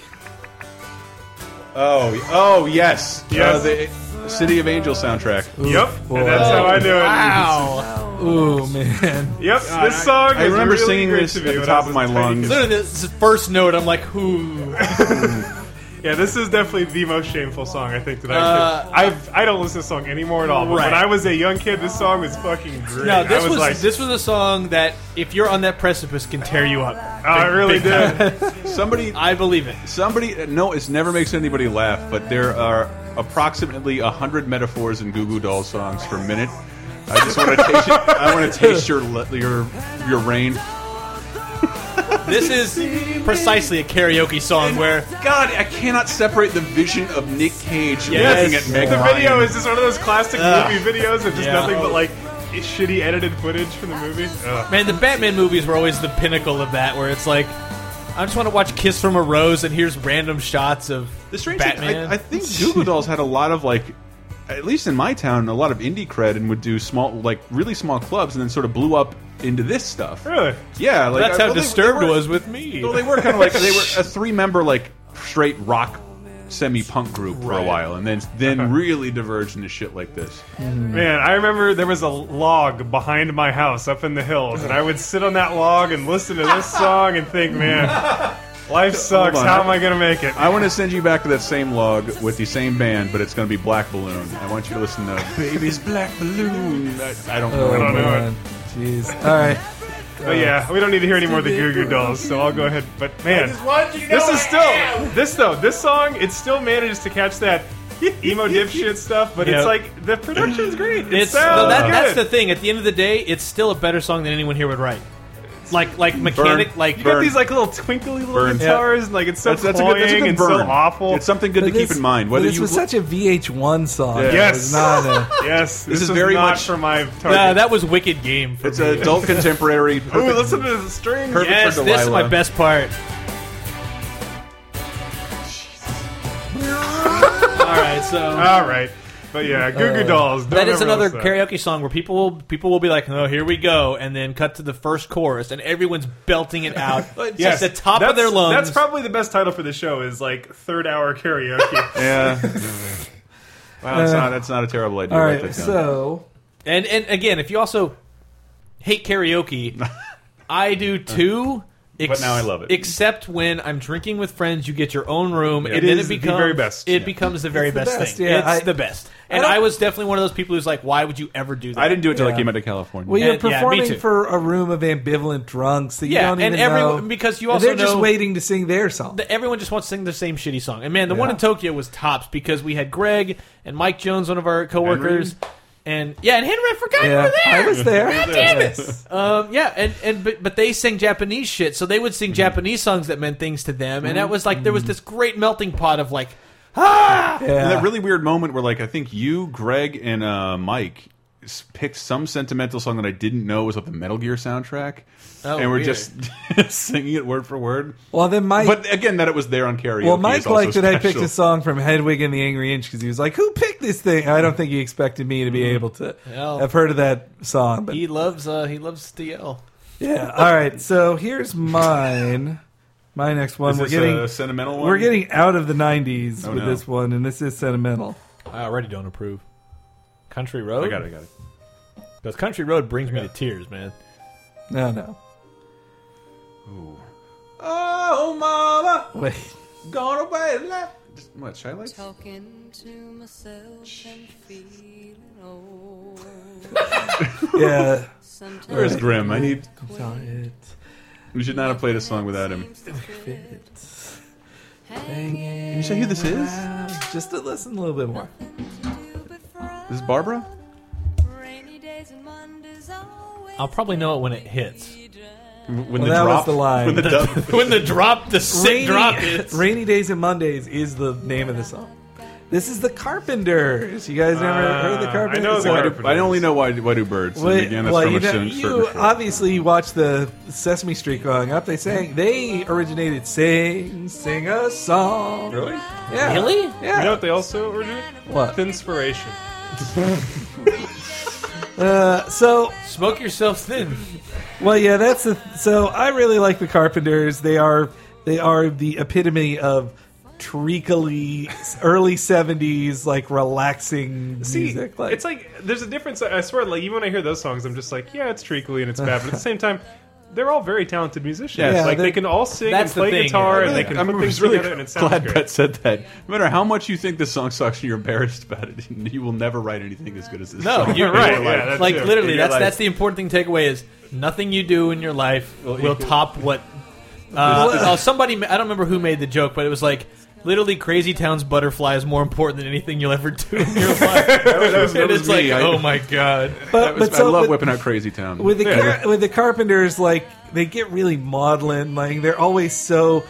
Oh, oh yes, Yes. Uh, the City of Angels soundtrack. Yep, boy. and that's how I knew it. Wow! Ooh man, Yep, this song. I was remember really singing good this to at me the when top I was of my a tiny lungs. kid. Literally, this first note, I'm like, who? Yeah, this is definitely the most shameful song I think that Uh, I've. I've I don't listen to this song anymore at all. But Right. when I was a young kid, this song was fucking great. No, this I was, was, like, this was a song that if you're on that precipice can tear you up. oh, I really did. Somebody, I believe it. somebody. uh, No, it never makes anybody laugh, but there are approximately hundred metaphors in Goo Goo Dolls songs per minute. I just want to taste. It, I want to taste your le- your your rain. This is precisely a karaoke song where God, I cannot separate the vision of Nick Cage Yes. looking at Meg the Ryan. video is just one of those classic Ugh. movie videos of just Yeah. nothing but like shitty edited footage from the movie. Ugh. man, the Batman movies were always the pinnacle of that. Where it's like, I just want to watch Kiss from a Rose, and here's random shots of The strange Batman. thing, I, I think Goo Goo Dolls had a lot of like, at least in my town, a lot of indie cred and would do small, like really small clubs, and then sort of blew up into this stuff. Really? Yeah, like That's I- how well, they- they Disturbed were- was with me. Well, they were kind of like they were a three-member like straight rock semi-punk group for a while, and then then really diverged into shit like this. Man, I remember there was a log behind my house up in the hills, and I would sit on that log and listen to this song and think, man, life sucks. on. How am I gonna make it? I want to send you back to that same log with the same band, but it's going to be Black Balloon. I want you to listen to Baby's Black Balloon. I, I don't know. oh I don't know. man, jeez. Uh, All right, But yeah, we don't need to hear any more of the Goo Goo Dolls, so I'll go ahead. But man, this is still this though. This song it still manages to catch that emo dipshit stuff, but Yeah. it's like the production's great. It It's sounds no, that, good. that's the thing. At the end of the day, it's still a better song than anyone here would write. Like like mechanic like you got Burn. these like little twinkly little Burn. guitars, and like it's so That's, that's a good, that's a cloying good and burn. so awful. It's something good to keep in mind. Whether this you was such a VH1 song. It Yes. was not a, yes, this, is was very not much- for my Nah, target. that was wicked game for it's me. an adult contemporary. Ooh, listen to the string. Perfect. yes, for this is my Delilah. best part. All right, so All right, but yeah, Goo Uh, Goo Dolls. Don't that is ever another listen. karaoke song where people will people will be like, "Oh, here we go," and then cut to the first chorus, and everyone's belting it out Yes, yes, at the top that's, of their lungs. That's probably the best title for the show. Is like third hour karaoke. Yeah. wow, that's not that's not a terrible idea. all Write right, that down. so and and again, if you also hate karaoke, I do too. Ex- now I love it. Except when I'm drinking with friends, you get your own room, and then is it the becomes very best. It becomes the very the best, best, thing. yeah, it's I- the best. And don't- I, was definitely one of those people who's like, "Why would you ever do that?" I didn't do it till I Yeah. came out to California. Well, you're And- yeah, me performing too. for a room of ambivalent drunks that Yeah, you don't even and everyone- know because you And also they're just know- waiting to sing their song. The- everyone just wants to sing the same shitty song. And man, the one in Tokyo was tops because we had Greg and Mike Jones, one of our coworkers, and yeah, and Henry. I forgot you yeah, were there. I was there. God damn it! Um, yeah, and and but, but they sing Japanese shit, so they would Mhm. sing Japanese songs that meant things to them, and that was like Mm. there was this great melting pot of like, ah, And Yeah. that really weird moment where, like, I think you, Greg, and uh, Mike s- picked some sentimental song that I didn't know was of the Metal Gear soundtrack, Oh, and we're weird. just singing it word for word. Well, then Mike. But again, that it was there on karaoke. well, is Mike also liked that I picked special. a song from Hedwig and the Angry Inch because he was like, "Who picked this thing?" I don't think he expected me to be Mm-hmm. able to Well. have heard of that song. But he loves uh, he loves DL. yeah, all right. So here's mine. My next one. Is we're this getting a sentimental one? Oh, we're getting out of the '90s with no. this one, and this is sentimental. I already don't approve. Country I Road, got it. I got it. because Country Road brings me to tears, man. No, no. Oh, mama, Wait. gone away left. Just- What? Shy lights? Talking to myself and feeling old. Yeah. Where's Sometimes Grim? I need. Sorry. We should not have played a song without him. seems to fit. Can you say who this is? Just to listen a little bit more. This is Barbara. I'll probably know it when it hits. W- When Well, the that was drop, the line. When the dub- when the drop, the sick drop is. Rainy Days and Mondays is the name of the song. This is the Carpenters. You guys never Ah, heard of the I Carpenters? know the why do, Carpenters. Uh, I only know why. Why do birds? Wait, and again, that's well, from you, a know, Sim- you circus show. obviously you watched the Sesame Street growing up. They sang. They originated "Sing, Sing a Song." Really? Yeah. Really? Yeah. You know what they also ordered? What? Inspiration. Uh, so Smoke yourself thin. Well, yeah, that's the. So I really like the Carpenters. They are they are the epitome of treacly early seventies like relaxing See, music. Like, it's like there's a difference. I swear, like even when I hear those songs, I'm just like, yeah, it's treacly and it's bad, but at the same time, they're all very talented musicians. Yeah, like they- they can all sing and That's the play thing, guitar, yeah. and they Really, can I'm put things just really together, and it sounds glad great. Pat said that. No matter how much you think this song sucks and you're embarrassed about it, you will never write anything as good as this. No, song. you're in your right, life. yeah, that's like it. literally, In your that's life. that's the important thing takeaway is nothing you do in your life will, top what. Uh, oh, somebody ma- I don't remember who made the joke, but it was like literally Crazy Town's butterfly is more important than anything you'll ever do in your life. and was it's me. I- like, oh my god, but, That was- but so I love with, whipping out Crazy Town. with the car- with the Carpenters, like they get really maudlin. Like they're always so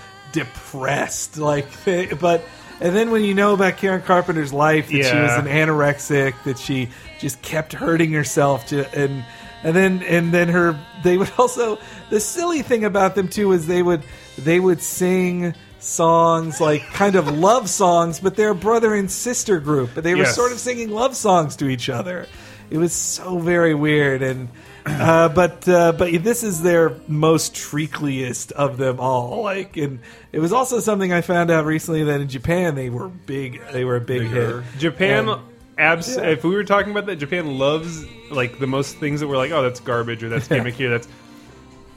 depressed. Like, they, but. And then when you know about Karen Carpenter's life, that she was Yeah. an anorexic, that she just kept hurting herself to and and then and then her they would also the silly thing about them too is they would they would sing songs like kind of love songs but they're a brother and sister group but they were Yes. sort of singing love songs to each other it was so very weird and uh, but uh, but this is their most treacliest of them all like and it was also something i found out recently that in japan they were big they were a big hit Japan, And- abs- Yeah. if we were talking about that, Japan loves like the most things that we're like, oh, that's garbage or that's gimmicky or that's.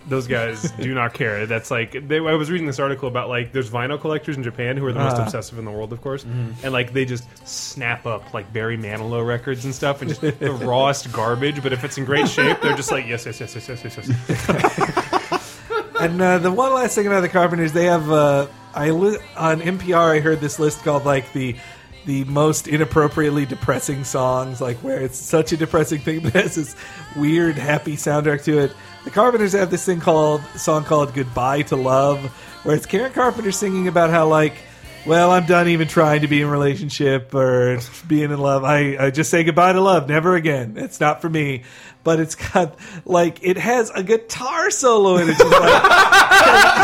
Those guys do not care. That's like they, I was reading this article about like there's vinyl collectors in Japan who are the most Ah. obsessive in the world, of course, Mm-hmm. and like they just snap up like Barry Manilow records and stuff and just the rawest garbage. But if it's in great shape, they're just like yes, yes, yes, yes, yes, yes, yes. And uh, the one last thing about the Carpenters, they have uh, I li- on NPR. I heard this list called like the the most inappropriately depressing songs, like where it's such a depressing thing, but it has this weird happy soundtrack to it. The Carpenters have this thing called song called "Goodbye to Love," where it's Karen Carpenter singing about how like. Well, I'm done even trying to be in a relationship or being in love. I, I just say goodbye to love, never again. It's not for me. But it's got like it has a guitar solo in it. It's just like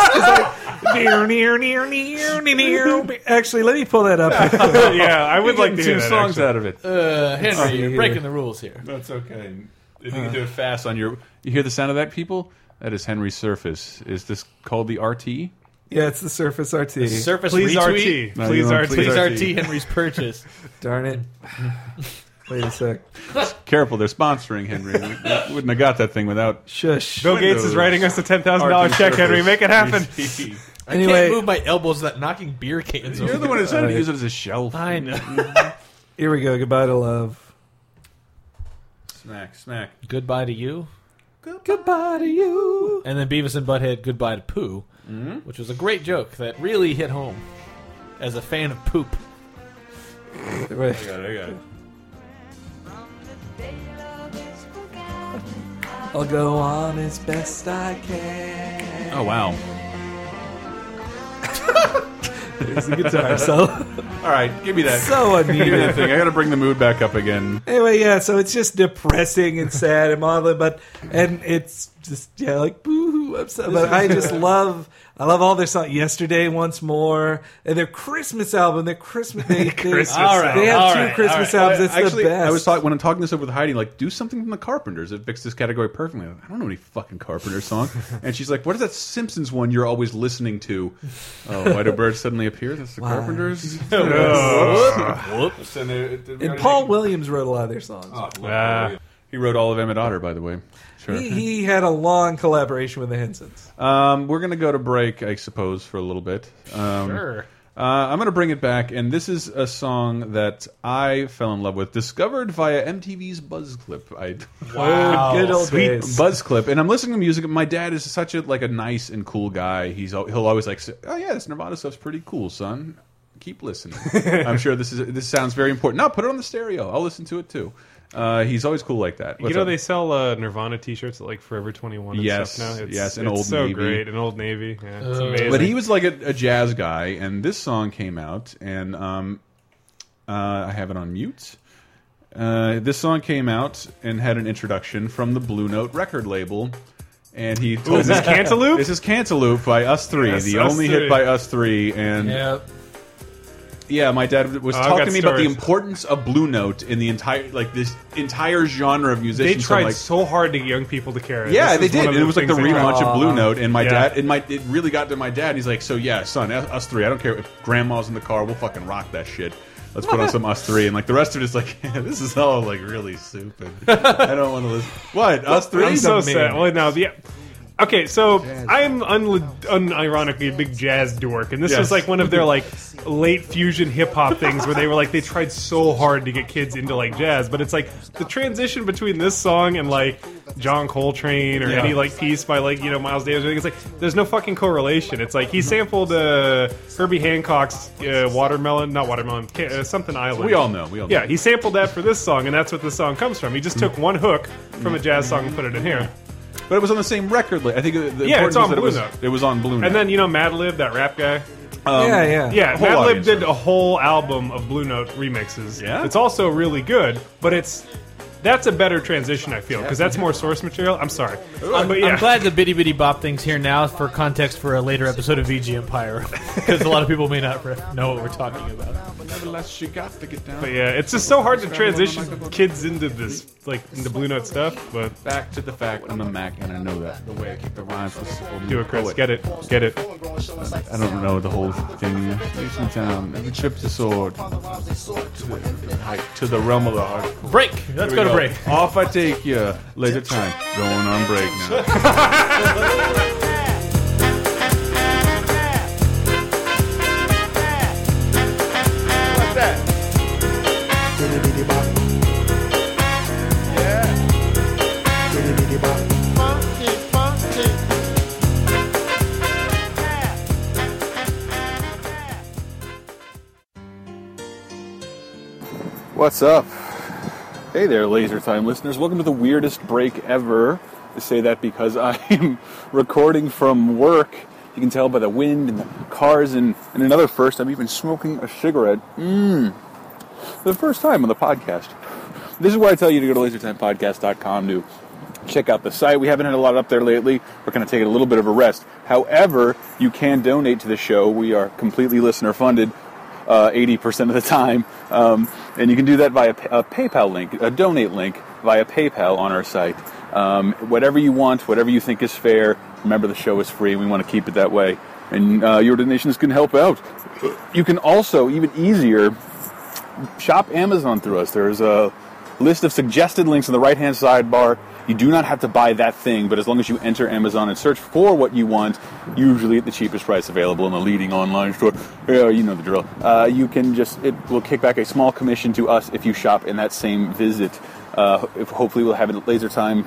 near, near, near, near, near, near. Actually, let me pull that up. yeah, I would like to hear two that, songs actually. out of it. uh, Henry, you're here. breaking the rules here. That's okay. If you can Uh. do it fast on your, you hear the sound of that, people. That is Henry's Surface. Is this called the RT? yeah, it's the Surface RT. Surface Please retweet. RT, No, please you don't- RT, please Please RT. RT Henry's purchase. Darn it. Wait a sec. Careful, they're sponsoring Henry. We, we wouldn't have got that thing without. Shush. Bill Gates is writing us a ten thousand dollar check, Henry. Make it happen. Anyway, Can't move my elbows without knocking beer cans You're over. the one who said to use it as a shelf. I know. here we go. Goodbye to love. Smack, smack. goodbye to you. Goodbye to you. And then Beavis and Butthead, goodbye to Pooh, which was a great joke that really hit home as a fan of poop. I Wait. got it, I got it. I'll go on as best I can. Oh, wow. There's the guitar solo. All right, give me that. so give me unneeded. that thing. I got to bring the mood back up again. Anyway, yeah, so it's just depressing and sad and maudlin, but and it's just yeah, like boo-hoo, I'm so- But I just love, I love all their songs. Yesterday, once more, and their Christmas album, their Christmas, they, they, All they have all two right, Christmas I- albums. It's Actually, the best. I was talking when I'm talking this over with Heidi, like, do something from the Carpenters. It fixed this category perfectly. I'm like, I don't know any fucking Carpenter song. and she's like, what is that Simpsons one you're always listening to? Oh, why do birds suddenly appear? That's the Carpenters. Whoops. And, they- they- we and already Paul make- Williams wrote a lot of their songs. Oh, look, Ah. He wrote all of Emmett Otter, by the way. Sure. he, he had a long collaboration with the Hensons. Um, we're going to go to break, I suppose, for a little bit. Um, Sure. Uh, I'm going to bring it back, and this is a song that I fell in love with, discovered via MTV's Buzz Clip. I Wow, good old days. Buzz Clip, and I'm listening to music. and My dad is such a like a nice and cool guy. He's al- he'll always like, say, oh yeah, this Nirvana stuff's pretty cool, son. Keep listening. I'm sure this is this sounds very important. No, put it on the stereo. I'll listen to it too. Uh, he's always cool like that. You What's know up? they sell uh, Nirvana T-shirts at like Forever Twenty One. Yes, and stuff now. It's, yes, and it's Old so Navy. great. An Old Navy, yeah, it's amazing. But he was like a, a jazz guy, and this song came out, and um, uh, I have it on mute. Uh, this song came out and had an introduction from the Blue Note record label, and he told Ooh, is this me- Cantaloupe? This is Cantaloupe by Us Three, Yes, the Us only hit Three. by Us Three, and Yeah. yeah, my dad was Oh, I've talking got to me about the stories. importance of Blue Note in the entire like this entire genre of they musicians. So I'm tried like, so hard to get young people to care. Yeah, This they is one did. of And it was like the things they tried. relaunch of Blue Note, and my Yeah. dad, and my it really got to my dad. He's like, "So yeah, son, us us three. I don't care if grandma's in the car. We'll fucking rock that shit. Let's put on some us three, and like the rest of it is like, this is all like really stupid. I don't want to listen. What us three? I'm so sad. Well, now the. Okay, so I'm unli- unironically a big jazz dork, and this Yes. was like one of their like late fusion hip hop things where they were like they tried so hard to get kids into like jazz, but it's like the transition between this song and like John Coltrane or Yeah. any like piece by like you know Miles Davis. or anything, It's like there's no fucking correlation. It's like he Mm-hmm. sampled uh, Herbie Hancock's uh, Watermelon, not Watermelon, ca- uh, something Island. We all know. We all know. Yeah, he sampled that for this song, and that's what this song comes from. He just took one hook from a jazz song and put it in here. but it was on the same record. li- I think. uh, The Yeah, it's importance on is that it Blue was, Note. It was on Blue Um, Note. And then, you know, Madlib, that rap guy. yeah, yeah, Yeah, whole Madlib audience did knows. a whole album of Blue Note remixes. Yeah? It's also really good, but it's. That's a better transition, I feel, because that's more source material. I'm sorry. but yeah. I'm glad the bitty bitty bop things here now for context for a later episode of VG Empire because a lot of people may not re- know what we're talking about. nevertheless, you got to get down But yeah, it's just so hard to transition kids into this, like, into Blue Note stuff, but back to the fact I'm a Mac, and I know that the way I keep the rhymes. is- do it, Chris. Get it. Get it. I don't know the whole thing. Every time, every trip to sword, to the, height- to the realm of the heart. Break. Let's go to break. Off I take you. Laser time. Going on break now. What's up? Hey there, Laser Time listeners. Welcome to the weirdest break ever. I say that because I am recording from work. You can tell by the wind and the cars, and, and another first, I'm even smoking a cigarette. Mmm. For the first time on the podcast. This is where I tell you to go to lasertimepodcast.com to check out the site. We haven't had a lot up there lately. We're going to take a little bit of a rest. However, you can donate to the show. We are completely listener funded uh, 80% of the time. Um, and you can do that via p- a PayPal link, a donate link via PayPal on our site. Um, whatever you want, whatever you think is fair. Remember, the show is free. We want to keep it that way. And uh, your donations can help out. You can also, even easier, shop Amazon through us. There's a List of suggested links on the right hand sidebar. You do not have to buy that thing, but as long as you enter Amazon and search for what you want, usually at the cheapest price available in a leading online store, yeah, you know the drill. Uh, you can just, it will kick back a small commission to us if you shop in that same visit. Uh, if, hopefully, we'll have it at laser time.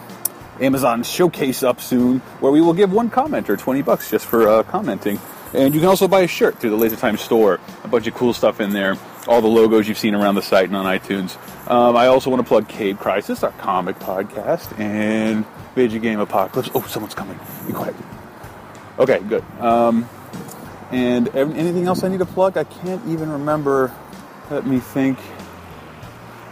Amazon showcase up soon, where we will give one commenter 20 bucks just for uh, commenting. And you can also buy a shirt through the Laser Time store. A bunch of cool stuff in there. All the logos you've seen around the site and on iTunes. Um, I also want to plug Cave Crisis, our comic podcast, and Video Game Apocalypse. Oh, someone's coming. Be quiet. Okay, good. Um, and ev- anything else I need to plug? I can't even remember. Let me think.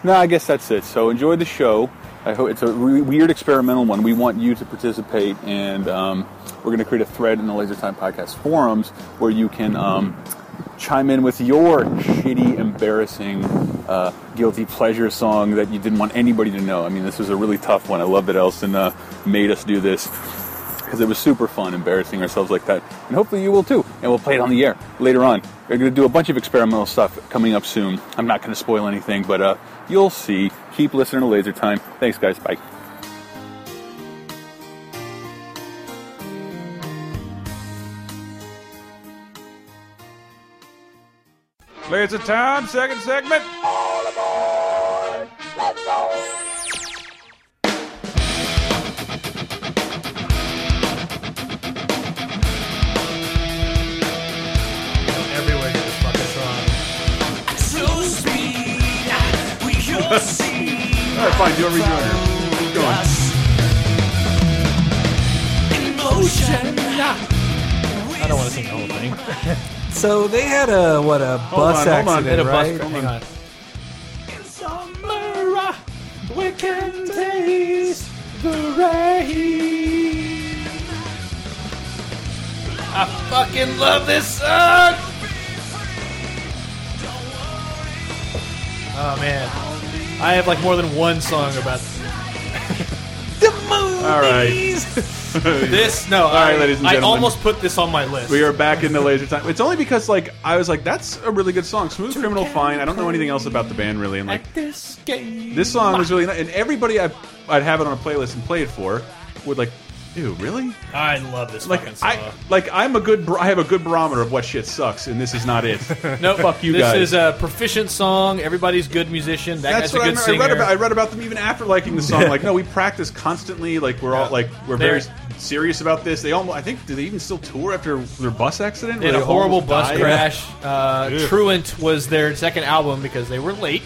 No, I guess that's it. So enjoy the show. I hope it's a re- weird experimental one. We want you to participate, and um, we're going to create a thread in the Laser Time Podcast forums where you can um, chime in with your shitty, embarrassing, uh, guilty pleasure song that you didn't want anybody to know. I mean, this was a really tough one. I love that Elson uh, made us do this because it was super fun embarrassing ourselves like that. And hopefully you will too. And we'll play it on the air later on. We're going to do a bunch of experimental stuff coming up soon. I'm not going to spoil anything, but uh, you'll see. Keep listening to Laser Time. Thanks, guys. Bye. Laser time, second segment. Everywhere this fucking song. All right, fine. Do a rejoiner. Keep going. I don't want to sing the whole thing. So they had a what a bus on, hold on. accident, Had a right? Hang on. uh, I fucking love this song. Oh man, I have like more than one song about All right. this. No, all right, I, ladies and I gentlemen. almost put this on my list. We are back in the laser time. It's only because like I was like, that's a really good song. Smooth Criminal Fine. I don't know anything else about the band really. And like at this game. this song was really nice. And everybody I I'd have it on a playlist and play it for would like, ew, really? I love this fucking Like song. I like I'm a good bar- I have a good barometer of what shit sucks, and this is not it. No, fuck you this guys. is a proficient song. Everybody's good musician. That guy's That's a what I, good mean. I singer. read about. I read about them even after liking the song. Like, no, we practice constantly. Like, we're all like, we're very serious about this. They almost, I think, do they even still tour after their bus accident? They Where had a horrible almost bus died? crash. Uh, Truant was their second album because they were late.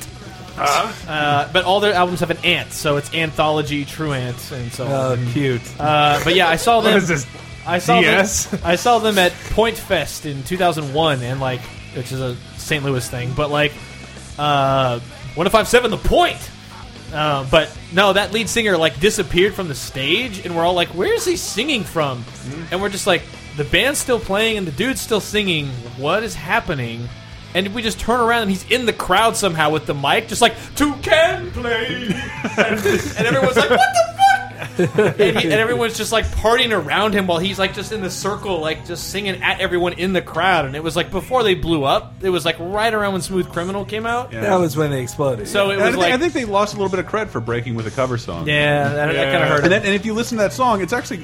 Uh, but all their albums have an ant, so it's anthology Truant and so on. Oh, cute. Um, Uh, but yeah, I saw them. What is this? I saw DS? them. I saw them at Point Fest in 2001, and like, which is a St. Louis thing, but like, uh, 1057 The Point. Uh, but no, that lead singer like disappeared from the stage, and we're all like, "Where's he singing from?" And we're just like, "The band's still playing, and the dude's still singing. What is happening?" And we just turn around, and he's in the crowd somehow with the mic, just like two can play, and everyone's like, "What the fuck?" and, he, and everyone's just like partying around him while he's like just in the circle, like just singing at everyone in the crowd. And it was like before they blew up. It was like right around when Smooth Criminal came out. that was when they exploded. So it And I, was think, like, I think they lost a little bit of cred for breaking with a cover song. yeah, that, kind of hurt. And, then, and if you listen to that song, it's actually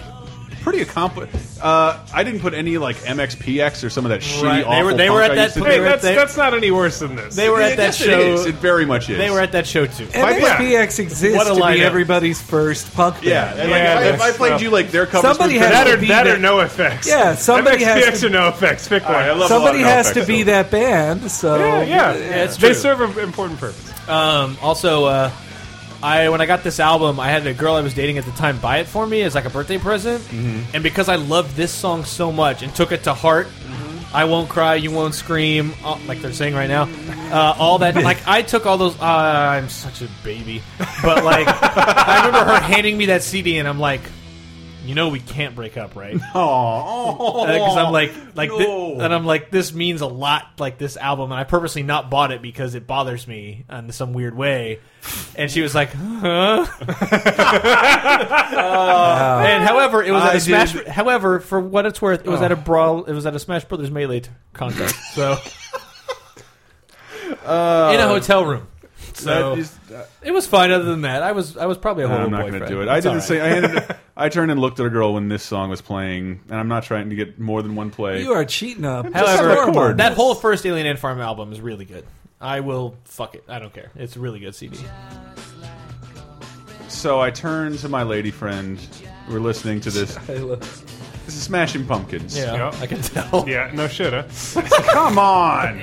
pretty accomplished. Uh, I didn't put any like MXPX or some of that shitty. Right. They awful were- they punk were at I that used to point- do. Hey, were that's they- that's not any worse than this. They were at that Yes, It, is. show. it very much is. They were at that show too. MXPX exists What a to lineup. be everybody's first punk band. yeah. and, like, Yeah, if I- if I that's- played you like their cover, Somebody Smooth had that Criminal- or be that the- or no effects. Yeah, somebody has MXPX to- or no effects. Pick one. I love a lot Somebody of has outbacks, to be though. that band. So Yeah, yeah, it's they true. serve an important purpose. Um, also, uh, I when I got this album, I had a girl I was dating at the time buy it for me as like a birthday present, and because I loved this song so much and took it to heart. I won't cry, you won't scream, uh, like they're saying right now. Uh, all that, like I took all those. Uh, I'm such a baby, but like I remember her handing me that CD, and I'm like, you know, we can't break up, right? because I'm like, like, thi- no. and I'm like, this means a lot, like this album, and I purposely not bought it because it bothers me in some weird way. And she was like, huh? and however, it was at I a Smash. did- Oh. However, for what it's worth, it was at a brawl. It was at a Smash Brothers melee t- contest. So, in a hotel room. So That is- it was fine. Other than that, I was I was probably a No, horrible I'm not boyfriend. going to do it. I It's did the all same. I, ended, I turned and looked at a girl when this song was playing, and I'm not trying to get more than one play. You are cheating up. However, Horrible. record. That whole first Alien Ant Farm album is really good. I will fuck it. I don't care. It's a really good CD. so I turned to my lady friend. We're listening to this. I love- This is Smashing Pumpkins. Yeah, Yep. I can tell. Yeah, no shit, huh? Come on.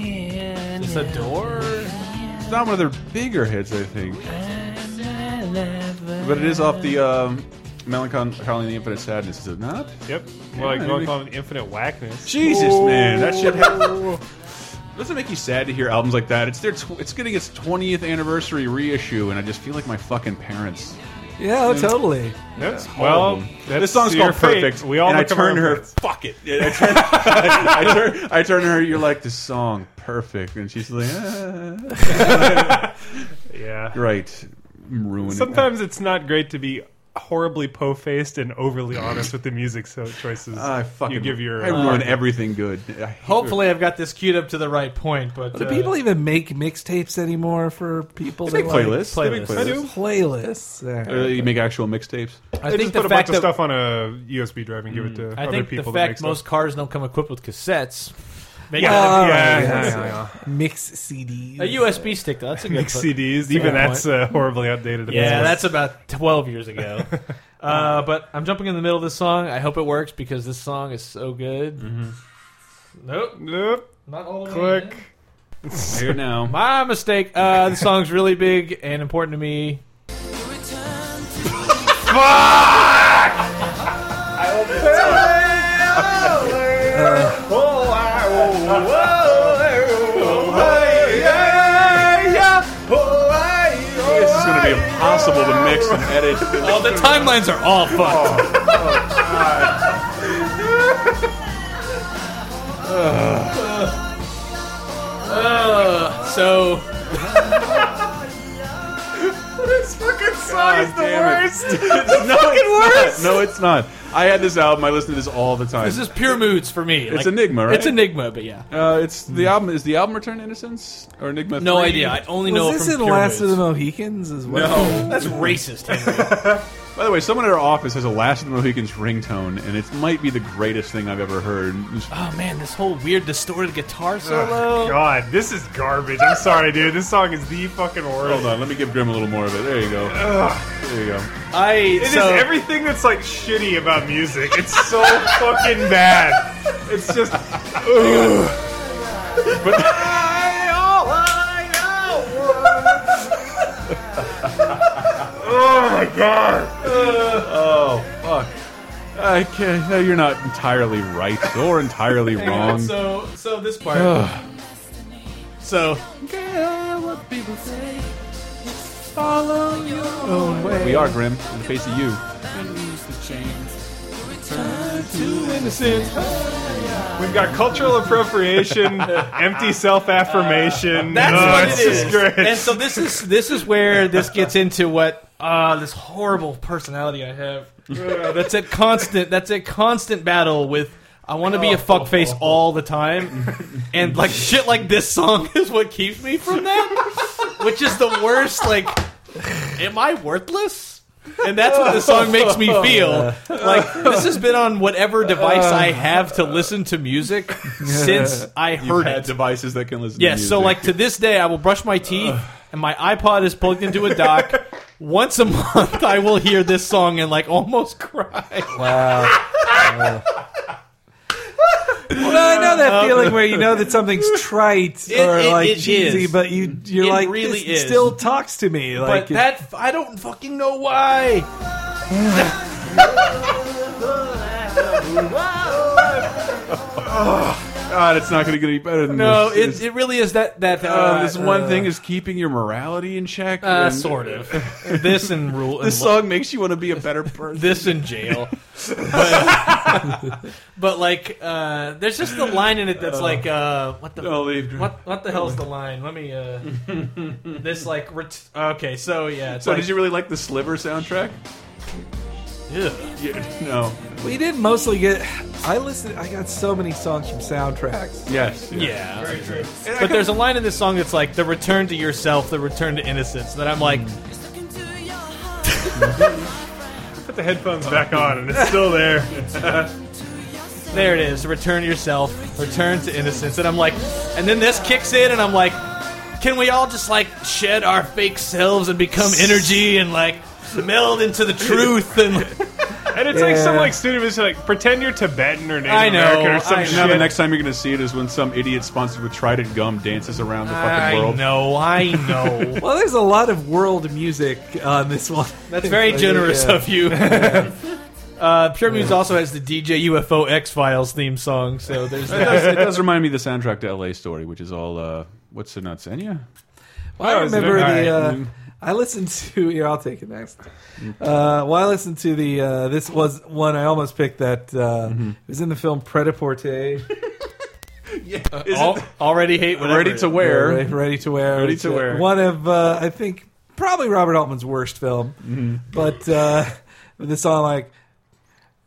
It's a door. It's not one of their bigger hits, I think. But it is off the um, Melancholy and the Infinite Sadness, is it not? Yep. Well, like Yeah, going maybe- on infinite whackness. Jesus, man, that shit. Doesn't it make you sad to hear albums like that? It's their. Tw it's getting its 20th anniversary reissue, and I just feel like my fucking parents. Yeah, oh, totally. That's well. Horrible. That's this song's your called fate. Perfect. We all and I look at our turned to her. parents. Fuck it. Yeah, I turned. I turned. I turned to her. You're like this song, perfect, and she's like, ah, Yeah. great. I'm ruining. it. Sometimes it's not great to be horribly po-faced and overly honest with the music so choices I fucking you give your uh, I ruin everything good. I hate- Hopefully, I've got this queued up to the right point. But Do uh, people even make mixtapes anymore for people? They make that like- playlists. They playlists. make playlists. I do. Playlists. There. Or you make actual mixtapes. I They think just the put a bunch fact of that stuff on a USB drive and give it to I other think the people. fact that most cars don't come equipped with cassettes. Make yeah, All Oh, yeah, right. yeah, yeah, yeah. Mix CDs. a USB stick. Though. That's a good. Mix put- CDs. Even Yeah. that's uh, horribly outdated. at Yeah, this that's about 12 years ago. uh, but I'm jumping in the middle of this song. I hope it works because this song is so good. Nope, point. Nope. not all the way. Mm-hmm. Click. Here now. My mistake. Uh, the song's really big and important to me. This is going to be impossible to mix and edit. Oh, Oh, the timelines are all fucked. oh, Uh, so God damn it. It's- no, it's not. No, it's not. I had this album. I listen to this all the time. this is pure moods for me. It's Enigma, right? It's Enigma, but yeah, uh, it's the album. Is the album Return to Innocence or Enigma? no 3? idea. I only know Was it this from in pure Last of moods. the Mohicans as well? No. That's racist. Henry. By the way, someone at our office has a Last of the Mohicans ringtone, and it might be the greatest thing I've ever heard. It's- Oh man, this whole weird distorted guitar solo. God, this is garbage. I'm sorry, dude. This song is the fucking worst. Hold on, let me give Grim a little more of it. There you go. There you go. I It is so, everything that's like shitty about music. It's so fucking bad. It's just. ugh. But oh my god! Oh fuck! I can't. No, you're not entirely right or entirely wrong. So so this part. so We are grim in the face of you. We've got cultural appropriation, empty self-affirmation. that's Oh, what it's it is. just great. And so this is this is where this gets into what uh this horrible personality I have. Uh, that's a constant that's a constant battle with I want to be Oh. a fuckface all the time. And like shit like this song is what keeps me from that. Which is the worst like am I worthless? And that's what the song makes me feel. Like this has been on whatever device I have to listen to music since I You've heard had it. devices that can listen. Yeah, to so music. like to this day, I will brush my teeth, and my iPod is plugged into a dock. Once a month, I will hear this song and like almost cry. Well, I know that feeling where you know that something's trite Um, It- or it- like it cheesy, is. but you you're It like really is. this still talks to me. But Like it- that I don't fucking know why. God, it's not going to get any better than No, this. it, it really is that that Uh, uh, this one thing is keeping your morality in check. uh, and- sort of this and rule. This and song makes you want to be a better person. this in jail. But, but like, uh, there's just the line in it that's like, Oh. uh, what the Don't leave, Drew. what what the hell's the line? Let me uh, this like ret- okay, so yeah, it's so, like, did you really like the Sliver soundtrack? Ew. Yeah, no. we did mostly get. I listened. I got so many songs from soundtracks. Yes. Yeah. But there's a line in this song that's like the return to yourself, the return to innocence. That I'm like, Put the headphones back on, and it's still there. there it is, return to yourself, return to innocence. And I'm like, and then this kicks in, and I'm like, can we all just like shed our fake selves and become energy and like meld into the truth? And And it's like some Yeah. like student is like pretend you're Tibetan or Native I know, American or some I shit. know. Now the next time you're going to see it is when some idiot sponsored with Trident gum dances around the I fucking world. know, I know. Well, there's a lot of world music on this one. That's very generous Yeah. of you. Uh, Pure Muse also has the DJ UFO X Files theme song, so there's It that. does, it does remind me of the soundtrack to L.A. Story, which is all uh, what's the nuts Enya? I Oh, is it? remember the. All Uh, I listened to. Here, I'll take it next. Uh, well, I listened to the. Uh, this was one I almost picked that uh, Mm-hmm. it was in the film Predaporte. Al- already hate whatever. Ready it to is. wear. Ready, ready to wear. Ready It's, to uh, Wear. One of uh, I think probably Robert Altman's worst film, Mm-hmm. but uh, the song like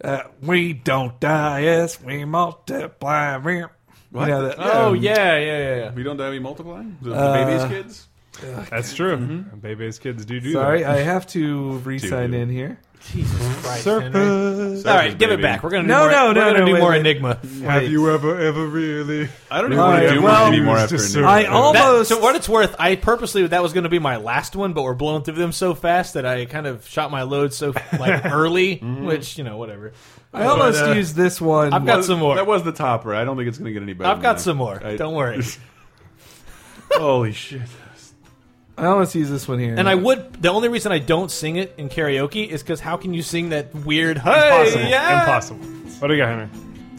uh, "We don't die, yes we multiply." You know, the, Oh yeah, yeah, yeah. yeah. We don't die, we multiply. The, the Uh, baby's kids. That's true. Mm-hmm. Baby's kids do do Sorry, that. I have to re-sign in here. All right, give it back. We're gonna do No, more, no, we're no, gonna no, do wait, more wait. Enigma. Have you ever, ever really? I don't even want Right, to do well, much anymore it's after. just an- so- I That- almost so what it's worth, I purposely that was going to be my last one, but we're blowing through them so fast that I kind of shot my load so like early, which you know whatever. I almost But, uh, used this one. I've got some That more. was the topper. I don't think it's going to get any better. I've than got that. some more. I- Don't worry. Holy shit! I almost used this one here. And I would. The only reason I don't sing it in karaoke is because how can you sing that weird? Hey, Impossible. yeah! Impossible. What do you got, Henry?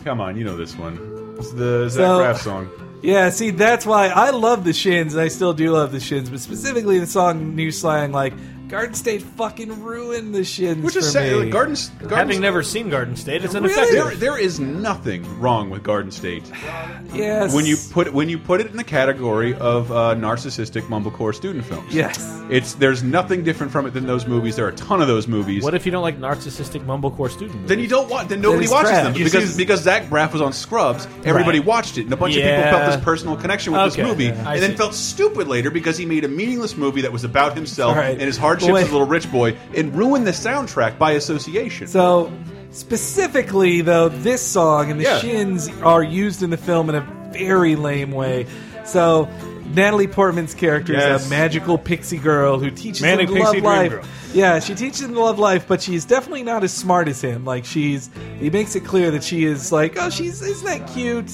Come on, you know this one. It's the Zach So- Braff song. Yeah, see, that's why I love the Shins, and I still do love the Shins, but specifically the song New Slang, like Garden State fucking ruined the Shins Which for is sad. me. Like, Garden, Garden Having never seen Garden State, it's ineffective. There, there is nothing wrong with Garden State yes, when you put when you put it in the category of uh, narcissistic mumblecore student films. yes, It's there's nothing different from it than those movies. There are a ton of those movies. What if you don't like narcissistic mumblecore student? then you don't watch. Then nobody it's watches trash. them You because because Zach Braff was on Scrubs. Everybody Right. watched it, and a bunch of Yeah. people felt this personal connection with Okay. this movie, Yeah. I and then see. felt stupid later because he made a meaningless movie that was about himself Right. and his hardships Wait. as a little rich boy, and ruined the soundtrack by association. so specifically though, this song and the Yeah. Shins are used in the film in a very lame way. So Natalie Portman's character is Yes. a magical pixie girl who teaches Manic him to love pixie dream life. girl. Yeah, she teaches him to love life, but she's definitely not as smart as him. Like she's, he makes it clear that she is like, oh, she's isn't that cute?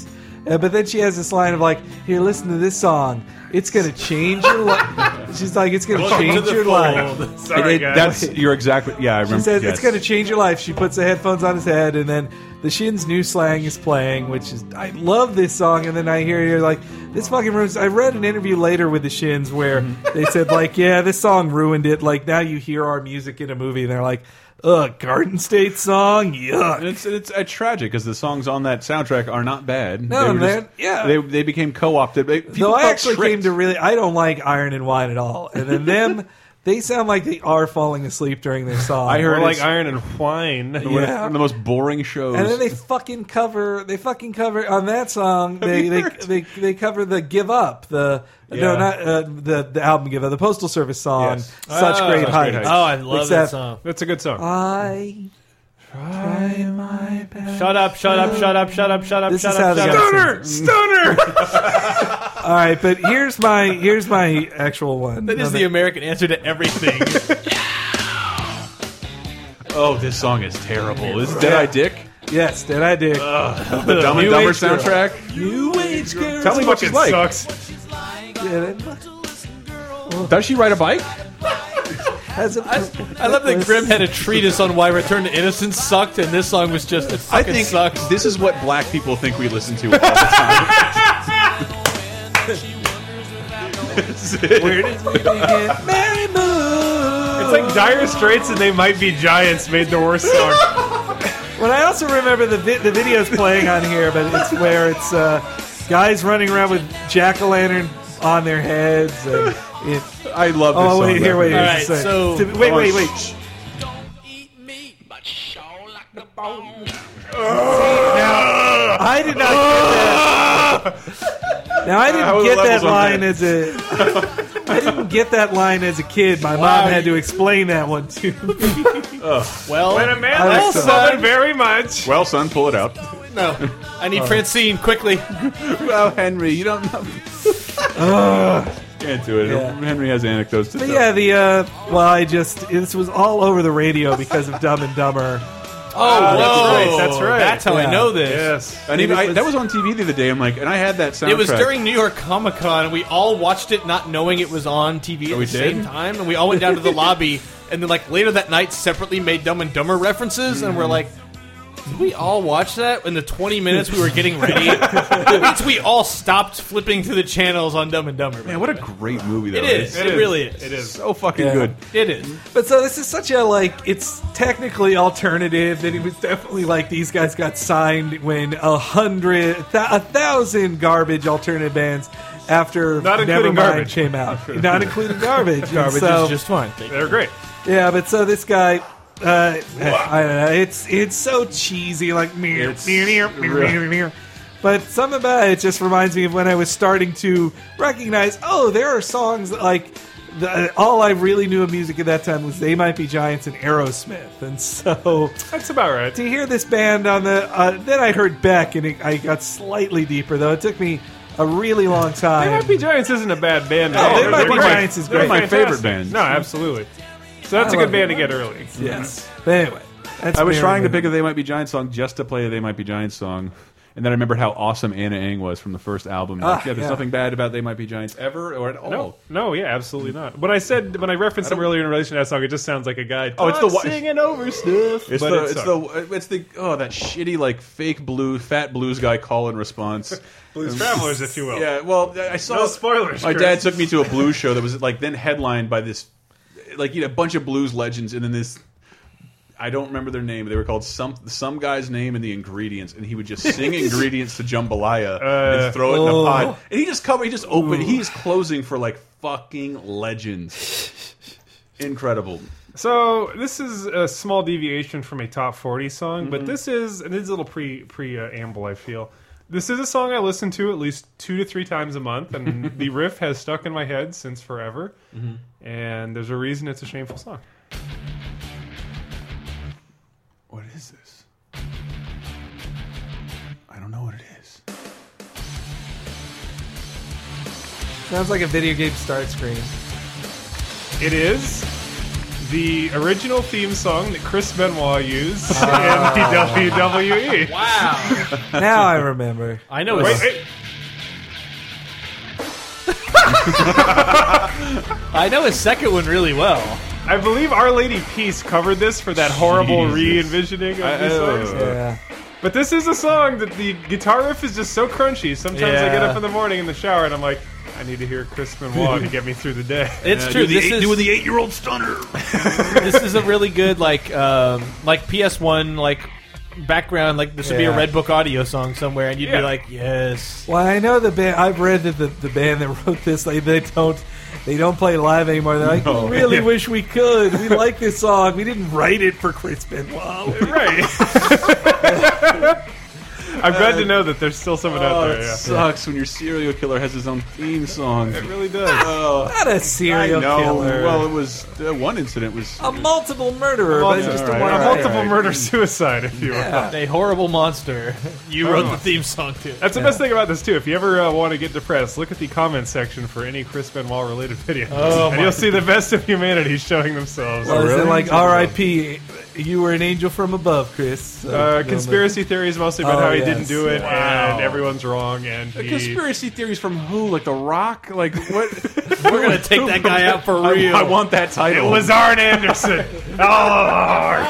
Uh, but then she has this line of like, here, listen to this song. It's gonna change your life. she's like, it's gonna Welcome to change the your life. fold. Sorry, It- guys. that's your exact. Yeah, I remember. She says yes. it's gonna change your life. She puts the headphones on his head, and then the Shins' new slang is playing, which is I love this song. And then I hear you're like, this fucking ruins. I read an interview later with the Shins where Mm-hmm. they said like, yeah, this song ruined it. Like now you hear our music in a movie, and they're like, ugh, Garden State song, yuck. And it's it's uh, tragic because the songs on that soundtrack are not bad. No, They were man, yeah. They, they became co-opted. They- People Though I felt actually tricked. came to really, I don't like Iron and Wine at all. And then them, they sound like they are falling asleep during their song. I heard Or it's- like Iron and Wine. one of- Yeah. one of the most boring shows. And then they fucking cover. They fucking cover on that song. They you they, heard? they they cover the "Give Up" the no Yeah. not uh, the the album "Give Up" the Postal Service song. Yes. Ah, Such Oh. great Such heights. Oh, I love that Except- song. That's a good song. I try my best. Shut up! Shut up! Shut up! Shut up! Shut up! This shut is up! how they shut got up. Stunner! All right, but here's my here's my actual one. That is the American answer to everything. oh, this song is terrible. Is Dead Eye Dick yes, did I do? the Dumb and New Dumber Age Girl. soundtrack? New age girls. Tell me what you it like. sucks. Yeah, that Does she ride a bike? has a purple I love that necklace. Grimm had a treatise on why Return to Innocence sucked, and this song was just it I fucking think sucks. this is what black people think we listen to all the time. Weird. Mary Moo. It's like Dire Straits and They Might Be Giants made the worst song. But I also remember the vi- the videos playing on here, but it's where it's uh, guys running around with jack o' lantern on their heads. And it, I love this oh song. Oh, wait, here, wait, All right, here's the same. so- To- wait, wait, wait. Now I did not get that. Now I How are didn't the get levels that on line that? as a. I didn't get that line as a kid. My mom had to explain that one to me. Well, When a man I like loves that. someone very much, Well, son, pull it out. no, I Oh. need Francine quickly. Well, Henry, you don't know. Can't do it. Yeah. Henry has anecdotes to But tell. yeah, the uh, well, I just this was all over the radio because of Dumb and Dumber. Oh, right, that's right. That's how I Yeah. know this. yes. And even, It I, was- that was on TV the other day. I'm like, and I had that soundtrack. It was during New York Comic Con, and we all watched it not knowing it was on TV at Oh, we the did? same time, and we all went down to the lobby, and then like later that night, separately made Dumb and Dumber references, and we're Mm-hmm. like. Did we all watch that in the 20 minutes we were getting ready? that means we all stopped flipping through the channels on Dumb and Dumber. Man, what a great movie that it is. It, is. really is. It is. So fucking Yeah. good. It is. But so this is such a like it's technically alternative, and it was definitely like these guys got signed when a hundred, th- a thousand garbage alternative bands after Not including Nevermind garbage. came out, not including garbage. And Garbage so- is just fine. They're great. Yeah, but so this guy, uh, I don't know. It's it's so cheesy, like meow, It's meow, meow, meow, real- meow, meow. But something about it just reminds me of when I was starting to recognize. Oh, there are songs that, like the, uh, all I really knew of music at that time was "They Might Be Giants" and Aerosmith, and so That's about right. to hear this band on the. Uh, then I heard Beck, and it, I got slightly deeper though. It took me a really long They time. Might Be Giants isn't a bad band. at Oh, all. They They're Might Be great. Giants is They're great. My favorite fantastic. band. No, absolutely. So that's a I good love band it. to get early. yes, but anyway, that's I was trying to Barry pick a "They Might Be Giants" song just to play a "They Might Be Giants" song, and then I remembered how awesome Anna Ang was from the first album. Like, Ah, yeah, there's yeah. nothing bad about "They Might Be Giants" ever or at all. No, no, yeah, absolutely not. When I said when I referenced them earlier in relation to that song, it just sounds like a guy. Oh, it's the "I'm wa- singing over stuff. It's but the it it's sucked. the it's the oh that shitty like fake blue fat blues guy call and response. Blues Oh, Travelers, if you will. yeah, well I saw No spoilers, My Chris. dad took me to a blues show that was like then headlined by this like you know a bunch of blues legends and then this I don't remember their name. They were called some some guy's name and the ingredients, and he would just sing ingredients to jambalaya and throw it in a pot. And he just covered. He just opened. He's closing for like fucking legends. Incredible. So this is a small deviation from a top forty song, but this is and this is a little pre pre uh, amble. I feel this is a song I listen to at least two to three times a month, and the riff has stuck in my head since forever. And there's a reason it's a shameful song. What is this? I don't know what it is. White. sounds like a video game start screen. It is the original theme song that Chris Benoit used in the WWE. Wow. now I remember. I know Wait, it's. wait, I know his second one really well. I believe Our Lady Peace covered this for that horrible Jesus. re-envisioning of these Oh. songs. Yeah. But this is a song that the guitar riff is just so crunchy. Sometimes I get Yeah. up in the morning in the shower and I'm like, I need to hear Chris Benoit to get me through the day. It's true. this is doing the eight-year-old stunner. this is a really good like um, like PS1 like background. Like this would be a Yeah. Red Book audio song somewhere, and you'd Yeah. be like, yes. Well, I know the band. I've read that the, the band that wrote this, like, they don't they don't play live anymore. They're like, we really wish we could. We like this song. We didn't write it for Chris Benoit. right. I'm glad to know that there's still someone out Oh, there. it yeah. sucks when your serial killer has his own theme song. It really does. Oh, Not a serial no. killer. Well, it was uh, one incident was Oh. a multiple murderer, but it's Multiple- just all a right, one. all a right. multiple Alright. murder suicide, if you will. Yeah. A horrible monster. You wrote Oh. the theme song too. That's the best thing about this too. If you ever uh, want to get depressed, look at the comment section for any Chris Benoit related videos, Oh, and my- you'll see the best of humanity showing themselves. Well, Oh, is really? it like R.I.P. You were an angel from above, Chris. So, Uh, you'll conspiracy theories mostly about Oh, how he yes. didn't do it, Wow. and everyone's wrong, and he, conspiracy theories from who? Like The Rock? Like what? We're gonna take that guy out for real. I, I want that It title. was Arn Anderson. oh,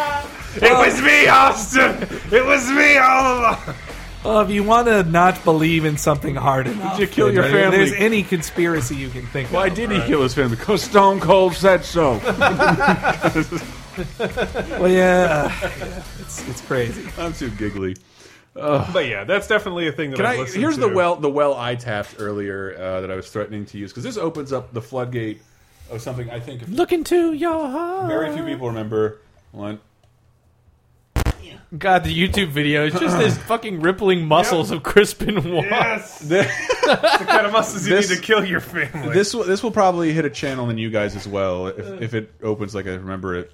It was me, Austin. It was me all along. Well, if you want to not believe in something hard enough, you kill then your if family? There's any conspiracy you can think Why of. did he kill his family? Because Stone Cold said so. Well, yeah, uh, yeah, it's it's crazy. I'm too giggly. But yeah, that's definitely a thing that Can I've I? listened Here's to. the well. The well I tapped earlier uh, that I was threatening to use because this opens up the floodgate of something I think Look into your heart. very few people remember. One. God, the YouTube video is just his fucking rippling muscles of Crispin Waugh. Yes. the kind of muscles you This- need to kill your family. This will this will probably hit a channel in you guys as well if, if it opens like I remember it.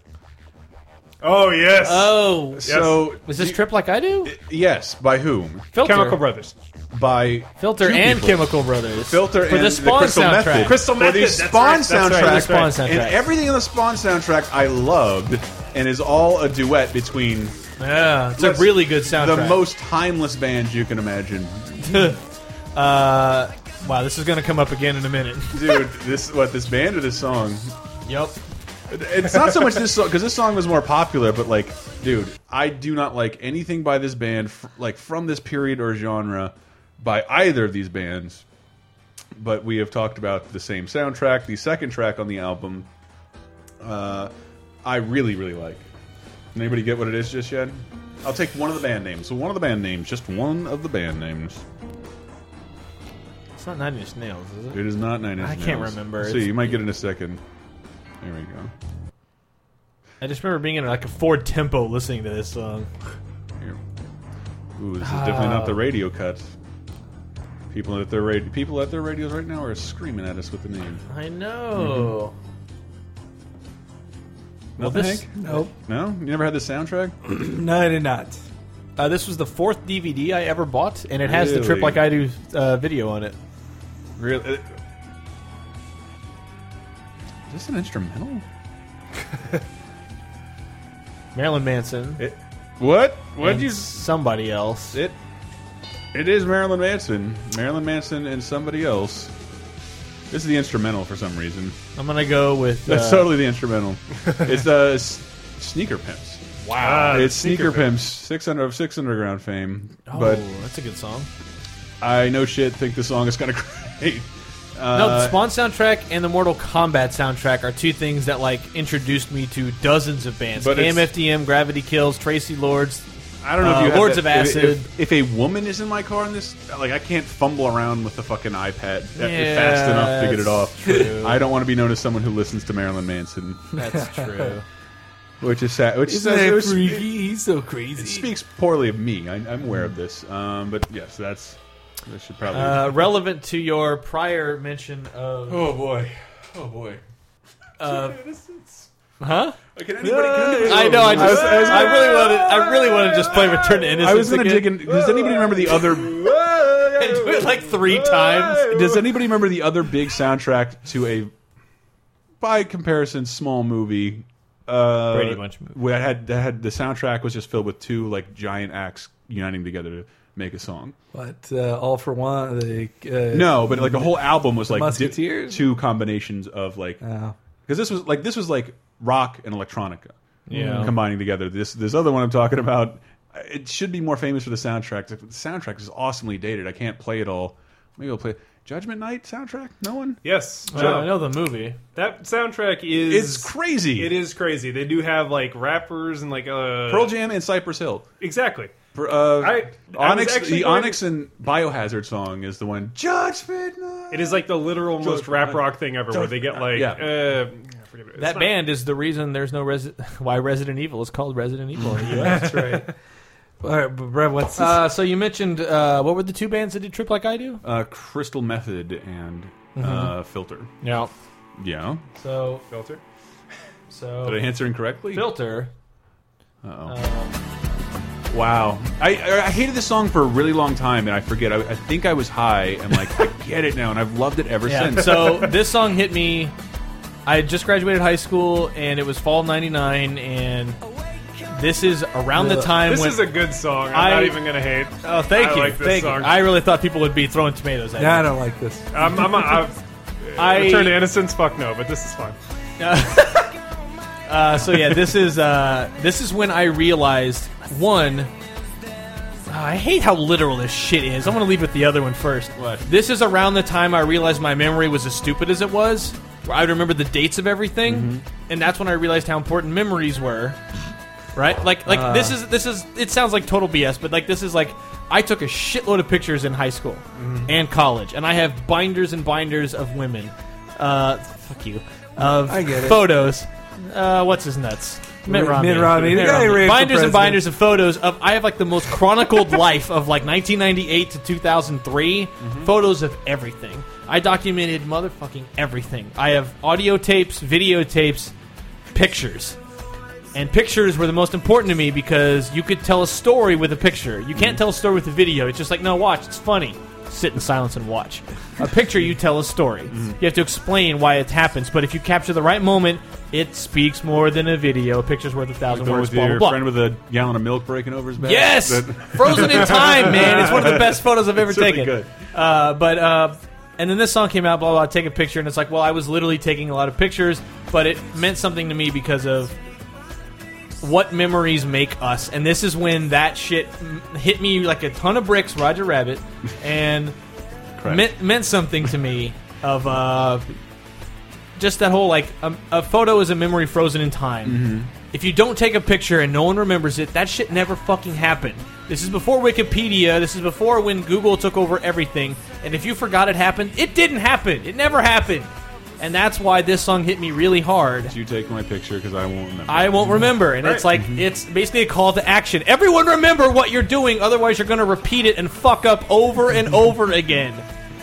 oh yes. Oh, Uh, So was this trip like I do? yes, by whom? Filter, Chemical Brothers. By Filter two and people. Chemical Brothers. Filter for and the Spawn Crystal soundtrack. Method. Crystal For the Method, that's Spawn right, that's soundtrack. right, that's right. Spawn And soundtrack. everything in the Spawn soundtrack I loved, and is all a duet between Yeah, it's Let's- a really good soundtrack. the most timeless band you can imagine. uh, wow, this is gonna come up again in a minute. Dude, this what this band or this song? yep. It's not so much this song because this song was more popular, but like, dude, I do not like anything by this band, fr like from this period or genre, by either of these bands. But we have talked about the same soundtrack, the second track on the album. Uh, I really, really like. Can anybody get what it is just yet? I'll take one of the band names. So one of the band names, just one of the band names. It's not Nine Inch Nails, is it? It is not Nine Inch I can't Nails. remember. See, It's- you might get it in a second. There we go. I just remember being in like a Ford Tempo listening to this song. Here. Ooh, this is definitely not the radio cut. People at their radio, people at their radios right now are screaming at us with the name. I know. Nothing, Mm-hmm. this- Hank? Nope. No, you never had the soundtrack. No, I did not. Uh, this was the fourth DVD I ever bought, and it has the Really? Trip Like I Do uh, video on it. Really? Uh, Is this an instrumental? Marilyn Manson. It, what? What and you? Somebody else. It. It is Marilyn Manson. Marilyn Manson and somebody else. This is the instrumental for some reason. I'm gonna go with. Uh, That's totally the instrumental. it's uh, s- sneaker pimps. Wow. it's sneaker, pimps. Six under of six underground fame. oh, But that's a good song. I no shit think the song is kind of great. Uh, No, the Spawn soundtrack and the Mortal Kombat soundtrack are two things that like introduced me to dozens of bands. But it's- AMFDM, Gravity Kills, Tracy Lords. I don't know uh, if you have Lords that- of if- Acid. If, if, a woman is in my car in this, like I can't fumble around with the fucking iPad that- Yeah, fast enough to get it that's off. I don't want to be known as someone who listens to Marilyn Manson, That's true. which is sad. Which Isn't is, uh, that it freaky? He's so crazy. speaks poorly of me. I, I'm aware of this, um, but yes, that's. That should probably. uh, relevant to your prior mention of uh, oh boy, oh boy. huh? Can anybody? Can anybody I know. I I was- just. I I, was- really want to. I really want to just play Return to Innocence. I was going to again. dig in. Does anybody remember the other? and do it like three times. Does anybody remember the other big soundtrack to a, by comparison, small movie? Uh, Brady Bunch movie. Where I had that had the soundtrack was just filled with two like giant acts uniting together to make a song. But uh, all for one, the uh, No, but like the whole album was like di- Musketeers? two combinations of like because Oh. this was like this was like rock and electronica Yeah. Mm. combining together. This this other one I'm talking about, it should be more famous for the soundtrack. The soundtrack is awesomely dated. I can't play it all. Maybe I'll play Judgment Night soundtrack. No one. Yes. Well, I know the movie. That soundtrack is. Uh, It's crazy. It is crazy. They do have like rappers and like uh Pearl Jam and Cypress Hill. Exactly. Per- uh, I- I was Onyx, actually the going- Onyx and Biohazard song is the one. Judgment Night. It is like the literal most rap rock thing ever, where they get like Yeah. uh, I forget it. It's That not- band is the reason there's no resi- why Resident Evil is called Resident Evil. in the US. That's right. all right, but Brad, what's this? uh, so you mentioned uh, what were the two bands that did Trip Like I Do? uh, Crystal Method and Mm-hmm. uh, Filter. Yeah. Yeah. So filter. Did I so answer incorrectly? filter. Wow. I, I I hated this song for a really long time, and I forget. I, I think I was high, and like I get it now, and I've loved it ever Yeah. since. so this song hit me. I had just graduated high school, and it was fall '99, and this is around the time This when. is a good song. I'm I- not even gonna hate. oh, thank I you, like this thank song. you. I really thought people would be throwing tomatoes at yeah, I me. don't like this. I'm, I'm, I'm, I Return to Innocence. Fuck no, but this is fun. Uh, so yeah, this is uh, this is when I realized one. Ah, I hate how literal this shit is. I'm gonna leave with the other one first. What? This is around the time I realized my memory was as stupid as it was. Where I would remember the dates of everything, Mm-hmm. and that's when I realized how important memories were. Right? Like, Uh. like this is this is. It sounds like total BS, but like this is like I took a shitload of pictures in high school Mm-hmm. and college, and I have binders and binders of women. Uh, fuck you. Of I get it. photos. Uh, what's his nuts? Mitt Romney. Mitt Romney. The Mitt guy who Romney. ran for Binders and president. binders of photos of. I have like the most chronicled life of like 1998 to 2003. Mm-hmm. Photos of everything. I documented motherfucking everything. I have audio tapes, videotapes, pictures. And pictures were the most important to me because you could tell a story with a picture. You Mm. can't tell a story with a video. It's just like, no, watch. It's funny. Sit in silence and watch. A picture, you tell a story. Mm. You have to explain why it happens. But if you capture the right moment, it speaks more than a video. A picture's worth a thousand The one words. with Blah blah your blah. friend with a gallon of milk breaking over his back. yes, That- frozen in time, man. It's one of the best photos I've ever It's really taken. good. Uh, but uh, and then this song came out. Blah blah. Take a picture, and it's like, well, I was literally taking a lot of pictures, but it meant something to me because of what memories make us. And this is when that shit m- hit me like a ton of bricks, Roger Rabbit, and meant meant something to me of uh, just that whole like a, a photo is a memory frozen in time. Mm-hmm. If you don't take a picture and no one remembers it, that shit never fucking happened. This is before Wikipedia. This is before when Google took over everything. And if you forgot it happened, it didn't happen. It never happened. And that's why this song hit me really hard. You take my picture because I won't remember. I won't remember. And it's like Mm-hmm. it's basically a call to action. Everyone remember what you're doing, otherwise you're gonna repeat it and fuck up over and over again.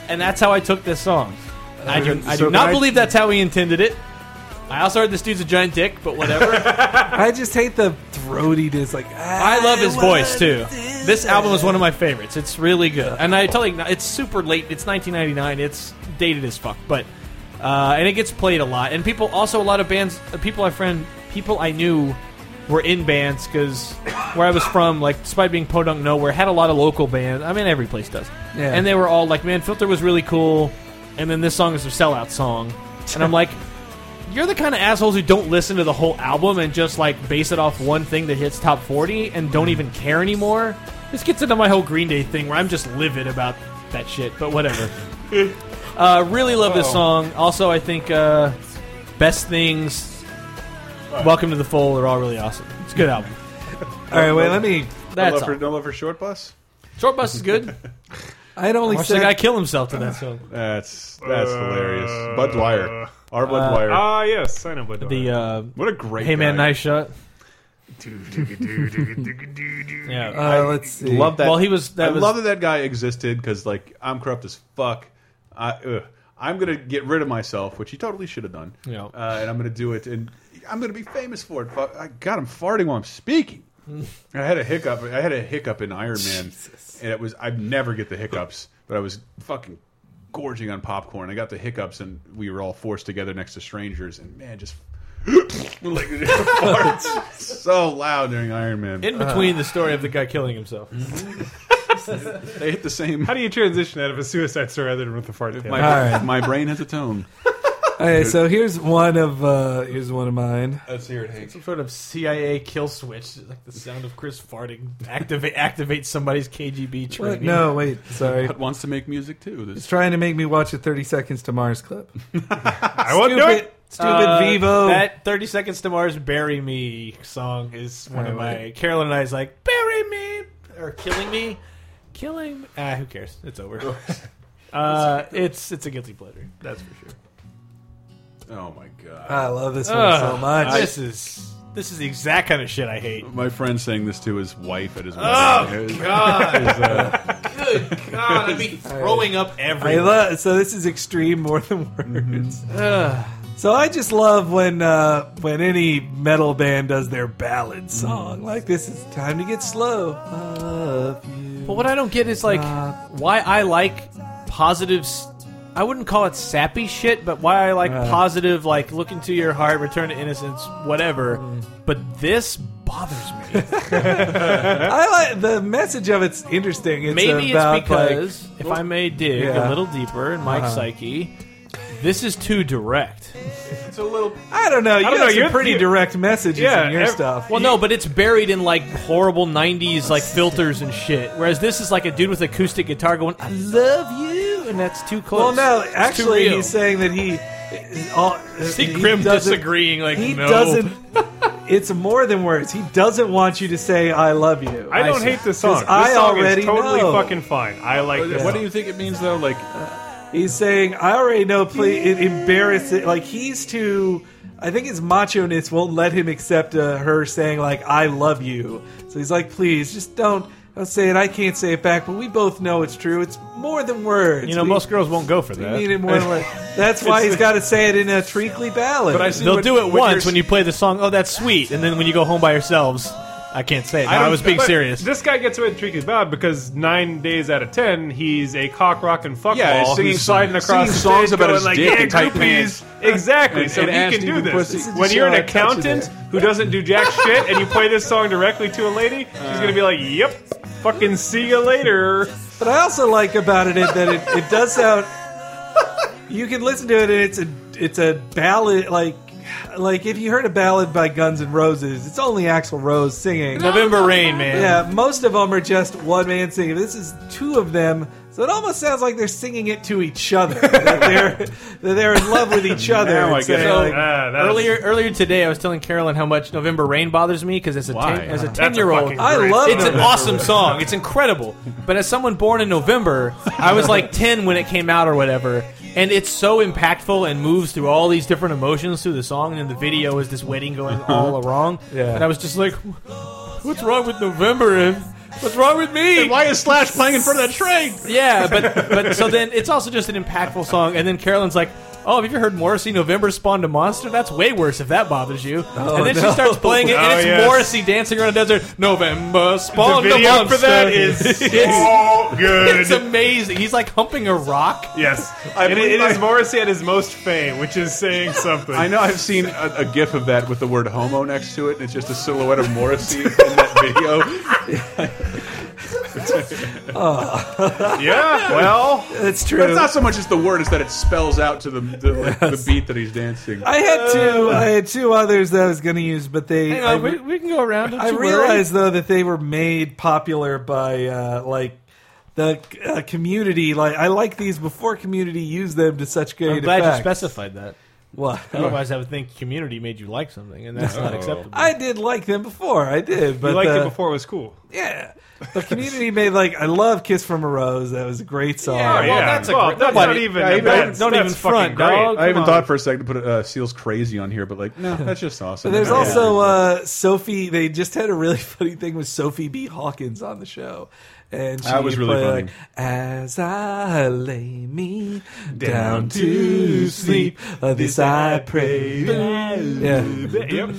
And that's how I took this song. I do, I Uh, So do can not I- believe that's how he intended it. I also heard this dude's a giant dick, but whatever. I just hate the throatiness. Like I love his voice too. This album is one of my favorites. It's really good, and I totally it's super late. It's 1999. It's dated as fuck, but uh, and it gets played a lot. And people also a lot of bands, people I friend, people I knew were in bands because where I was from, like despite being podunk nowhere, had a lot of local bands. I mean, every place does. Yeah. And they were all like, "Man, Filter was really cool," and then this song is a sellout song, and I'm like. You're the kind of assholes who don't listen to the whole album and just like base it off one thing that hits top 40 and don't even care anymore. This gets into my whole Green Day thing where I'm just livid about that shit, but whatever. uh, really love Oh. this song. Also, I think uh, Best Things, Welcome to the Fold are all really awesome. It's a good album. All right, wait. Let me. no, That's love for, all. no love for short bus. Short Bus is good. I'd only Watch the said guy kill himself to that song. That's that's hilarious. Bud Uh, Dwyer, our Bud Dwyer. Ah, yes, I know. Bud The Dwyer. uh, what a great Hey Man, guy. Nice Shot. yeah. Uh, let's see. Love that. Well, he was- that I was- love that that guy existed because like I'm corrupt as fuck. I ugh, I'm gonna get rid of myself, which he totally should have done. Yeah. Uh, and I'm gonna do it, and I'm gonna be famous for it. Fuck, I got him farting while I'm speaking. I had a hiccup. I had a hiccup in Iron Man, and it was I never get the hiccups, but I was fucking gorging on popcorn. I got the hiccups, and we were all forced together next to strangers, and man, just like farts so loud during Iron Man. In between the story of the guy killing himself. they hit the same. How do you transition out of a suicide story other than with the fart? tail? My, All right. my brain has a tone. All right, so here's one of uh, here's one of mine. Let's hear it, Hank. Some sort of CIA kill switch, like the sound of Chris farting, activate activate somebody's KGB What? training. No, wait, sorry. But wants to make music too. It's This trying to make me watch a 30 Seconds to Mars clip. I won't do Stupid, it. stupid Uh, Vivo. That 30 Seconds to Mars Bury Me song is one Oh, of my. Carolyn and I is like, Bury Me! Or Killing Me? Killing me. Ah, who cares? It's over. uh, it's it's a guilty pleasure. That's for sure. oh my god. I love this one Ugh, so much. This is. This is the exact kind of shit I hate. My friend sang this to his wife at his wedding. Oh god. uh, God, I'd be throwing up I everything. love. So this is extreme more than words. Mm-hmm. so I just love when uh, when any metal band does their Mm. ballad song. Like this is time to get slow. Love you. But what I don't get is like Uh, why I like positive. s- I wouldn't call it sappy shit, but why I like Uh. positive, like look into your heart, return to innocence, whatever. Mm. But this bothers me. I like the message of it's interesting. It's Maybe about, it's because if I may dig a Yeah. little deeper in Mike's Uh-huh. psyche, this is too direct. It's a little like, I don't know. You don't got know, some you're- pretty you- direct messages Yeah, in your ev- stuff. Well, no, but it's buried in like horrible '90s like filters and shit. Whereas this is like a dude with acoustic guitar going, "I love you," and that's too Well, close. no, It's too actually, real. he's saying that he. All, See Grim disagreeing, like He no. doesn't. It's more than words. He doesn't want you to say "I love you." I don't see. hate this song. 'Cause This I song already is totally know. fucking fine. I like this. Oh, What do you think it means though? Like He's saying, "I already know." Please, it embarrasses. Like he's too. I think his macho ness won't let him accept uh, her saying like "I love you." So he's like, "Please, just don't." Don't say it. I can't say it back, but we both know it's true. It's more than words. You know, We- most girls won't go for that. we need it more than words. That's why he's got to say it in a treacly ballad. But I see They'll what- do it what once you're- when you play the song. Oh, that's sweet, and then when you go home by yourselves, I can't say it. No, I, was being but serious. This guy gets away with tricky bad because nine days out of ten, he's a cock rockin' fuckball Yeah, he's singing- who's sliding across singing the songs stage about going his like, dick yeah, and tight groupies." pants. Exactly. And- so and he ass can do eating this. pussy. This is When you're an Sean Touchy accountant there. who doesn't do jack shit and you play this song directly to a lady, she's gonna be like, "Yep, fucking see you later." But I also like about it that it, it does sound. You can listen to it, and it's a it's a ballad like like if you heard a ballad by Guns N' Roses, it's only Axl Rose singing. November rain, man. Yeah, most of them are just one man singing. This is two of them, so it almost sounds like they're singing it to each other. that they're that they're in love with each other. Now I and saying, get it. like, Ah, that's- Earlier, earlier today, I was telling Carolyn how much November Rain bothers me because as a Why? ten, as a That's a ten year old, fucking I love it's an November awesome song. It's incredible. But as someone born in November, I was like 10 when it came out or whatever. And it's so impactful and moves through all these different emotions through the song. And in the video is this wedding going all wrong. Uh-huh. Yeah. And I was just like, what's wrong with November? And What's wrong with me? Why is Slash playing in front of that train? Yeah, but but so then it's also just an impactful song, and then Carolyn's like, "Oh, have you heard Morrissey? November spawned a monster. That's way worse if that bothers you." and then she no. starts playing it, and Oh, it's yes. Morrissey dancing around a desert. November The spawned a video monster. for that is Oh, so good. it's amazing. He's like humping a rock. yes, I And it, believe it is I- Morrissey at his most fame, which is saying something. I know I've seen a, a gif of that with the word homo next to it, and it's just a silhouette of Morrissey in that video. Yeah. Well. It's true. But it's not so much as the word, it's that it spells out to the, the, like, the beat that he's dancing. I had two. I had two others that I was going to use, but they. Uh. Hang I on, re- we, we can go around. Don't I you worry. realize though that they were made popular by uh, like the uh, community. Like I like these before community used them to such great I'm glad you effect. specified that. What? Otherwise, I would think community made you like something, and that's not acceptable. Oh, I did like them before. I did, but You liked uh, it before it was cool. Yeah, but community made like I love "Kiss from a Rose." That was a great song. Yeah, well, that's a great- that's nobody- not even. yeah, a even- bad- don't that's even front, fucking great. dog. I even on. thought for a second to put uh, Seals Crazy on here, but like, no, that's just awesome. But there's Yeah. also uh, Sophie. They just had a really funny thing with Sophie B. Hawkins on the show, and she That was really played, funny. like, "As I lay me down to sleep, of this I pray." Yeah, Yep.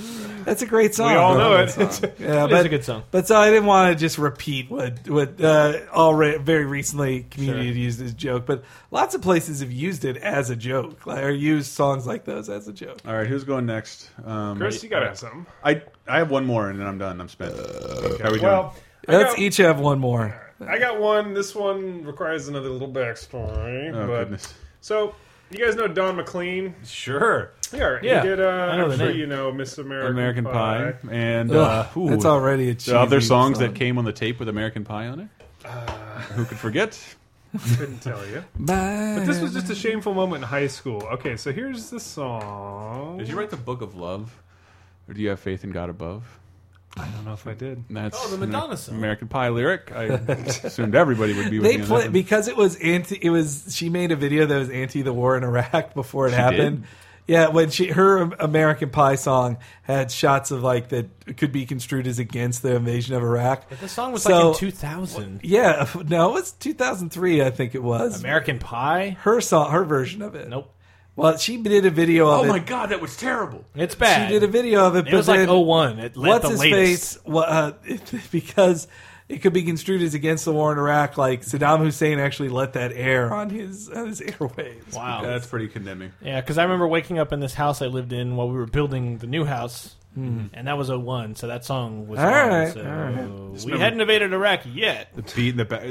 that's a great song. We all I know love it. that song. yeah, It's but a good song. but so I didn't want to just repeat what what uh, already very recently community had used as a joke, but lots of places have used it as a joke, like, or used songs like those as a joke. All right, who's going next? Um, Chris, you gotta have something. I I have one more and then I'm done. I'm spent. How are we doing? Well, I Let's got, each have one more. I got one. This one requires another little backstory. oh but, goodness. So, you guys know Don McLean? Sure. Yeah, Yeah, he did. Uh, I know I'm the sure name. you know Miss American, American Pie, and uh, Ugh, ooh, that's already a cheesy the other songs song. that came on the tape with American Pie on it. Who could forget? Couldn't tell you. But This was just a shameful moment in high school. Okay, so here's the song. Did you write the Book of Love, or do you have faith in God above? I don't know if I did. That's Oh, the an Madonna song. American Pie lyric. I assumed everybody would be. with they me on play that one. because it was anti. It was she made a video that was anti the war in Iraq before it happened. did? Yeah, when she her American Pie song had shots of like that could be construed as against the invasion of Iraq. The song was So- like in 2000. Yeah, no, it was 2003, I think it was. American Pie. her song, her version of it. Nope, Well, she did a video of Oh it. my God, that was terrible. it's bad. She did a video of it. It but was like then- 01. It let what's the his latest. face wha- uh, because it could be construed as against the war in Iraq. Like Saddam Hussein actually let that air on his on his airwaves. Wow. That's pretty condemning. Yeah, because I remember waking up in this house I lived in while we were building the new house, and that was 01, so that song was Hmm. All on, right, so all right. We hadn't invaded Iraq yet. The beat in the back.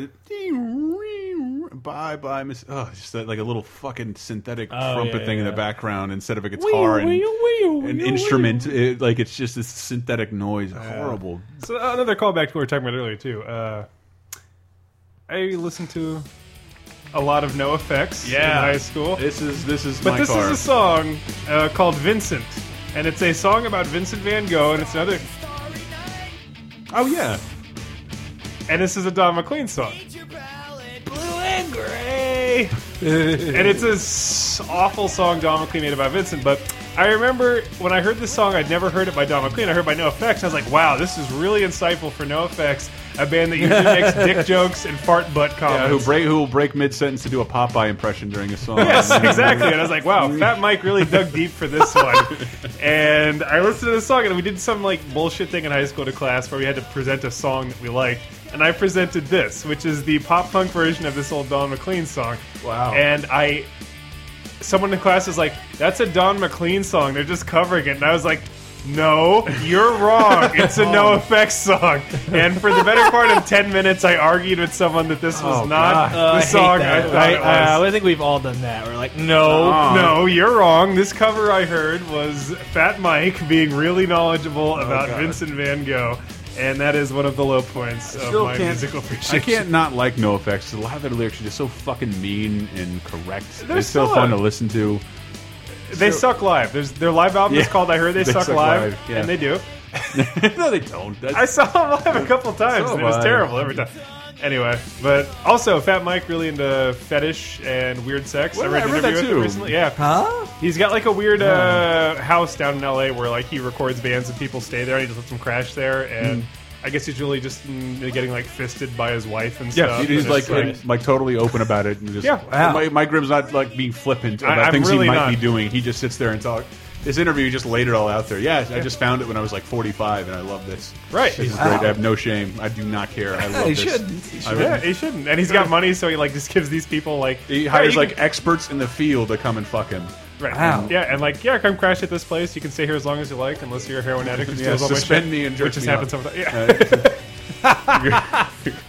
Bye bye, Miss. Oh, it's just that, like a little fucking synthetic Oh, trumpet yeah, thing in yeah, the yeah. background instead of a guitar and an instrument. It, like it's just this synthetic noise. Horrible. So uh, another callback to what we were talking about earlier too. Uh, I listened to a lot of No Effects Yeah. in high school. This is this is But my this car. is a song uh, called Vincent, and it's a song about Vincent Van Gogh, and it's another, oh yeah, and this is a Don McLean song, and it's this awful song Don McLean made about Vincent. But I remember when I heard this song, I'd never heard it by Don McLean. I heard it by No Effects. I was like, wow, this is really insightful for No Effects, a band that usually makes dick jokes and fart butt Yeah, comments. Uh, who break who will break mid sentence to do a Popeye impression during a song? Mm. Yes, exactly. And I was like, wow, Fat Mike really dug deep for this one. And I listened to the song, and we did some like bullshit thing in high school to class where we had to present a song that we liked. And I presented this, which is the pop punk version of this old Don McLean song. Wow. And I, someone in class is like, that's a Don McLean song. They're just covering it. And I was like, no, you're wrong. It's a no effects song. And for the better part of 10 minutes, I argued with someone that this was Oh, not God. the Uh, I hate song I that, thought right? it was. Uh, I think we've all done that. We're like, no, Uh-uh. No, you're wrong. This cover I heard was Fat Mike being really knowledgeable about Oh, God. Vincent Van Gogh, and that is one of the low points of still my can't- musical I appreciation. can't not like No Effects. A lot of their lyrics are just so fucking mean and correct. They're it's so still- fun to listen to. They suck live. There's their live album is Yeah. called "I Heard They, They suck, Suck Live," Live, yeah. and they do. no, they don't. That's, I saw them live a couple times, So and it was live. terrible every time. Anyway, but also Fat Mike really into fetish and weird sex. Well, I read I an read interview that with him too. recently. Yeah, Huh? He's got like a weird uh, house down in LA where like he records bands and people stay there and he just lets them crash there and Hmm. I guess he's really just mm, getting like fisted by his wife and yeah, stuff. he's and like it's, and, like totally open about it and just Ah. Yeah, wow. My, my Grimm's not like being flippant about I'm things really he might not. be doing. He just sits there and talks. This interview he just laid it all out there. Yeah, I just found it when I was like 45, and I love this. Right. this is Wow. great. I have no shame. I do not care. I love you this. shouldn't. You I shouldn't. yeah, he shouldn't. And he's got money, so he like just gives these people like He "Yeah, hires you like can- experts in the field to come and fuck him. right. Wow. yeah, and like yeah, come crash at this place. You can stay here as long as you like, unless you're a heroin addict who Yeah, steals all my shit. suspend me and Which jerk just me up. happens sometimes. Yeah. Uh,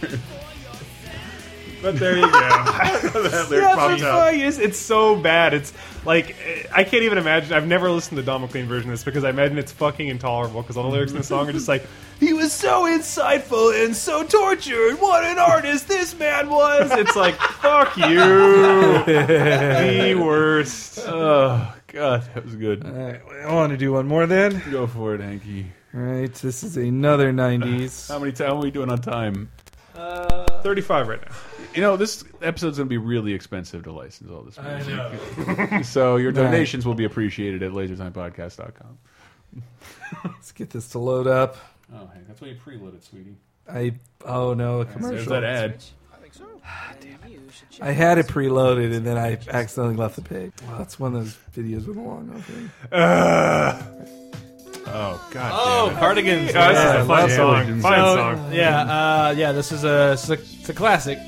But there you go. that lyric Yeah, popped that's up. It's, it's so bad. It's like eh, I can't even imagine. I've never listened to the Don McLean version of this because I imagine it's fucking intolerable. Because all the lyrics in the song are just like, He was so insightful and so tortured. What an artist this man was. it's like fuck you, the worst. oh god, that was good. All right, I want to do one more then. Go for it, Hanky. All right, this is another 90s. How many times are we doing on time? Thirty-five right now. You know, this episode's going to be really expensive to license all this music. so your donations will be appreciated at lasertimepodcast.com. Let's get this to load up. Oh, hey, that's why you preloaded, sweetie. I oh no, a There's commercial. that ad. Ah, I had it preloaded and then I accidentally left the page. That's one of those videos with a long opening. Oh god. Oh, cardigans. Oh, this Yeah, is a fine lots of song. legends. Fine Oh, song. yeah, uh, yeah. This is a it's a, it's a classic.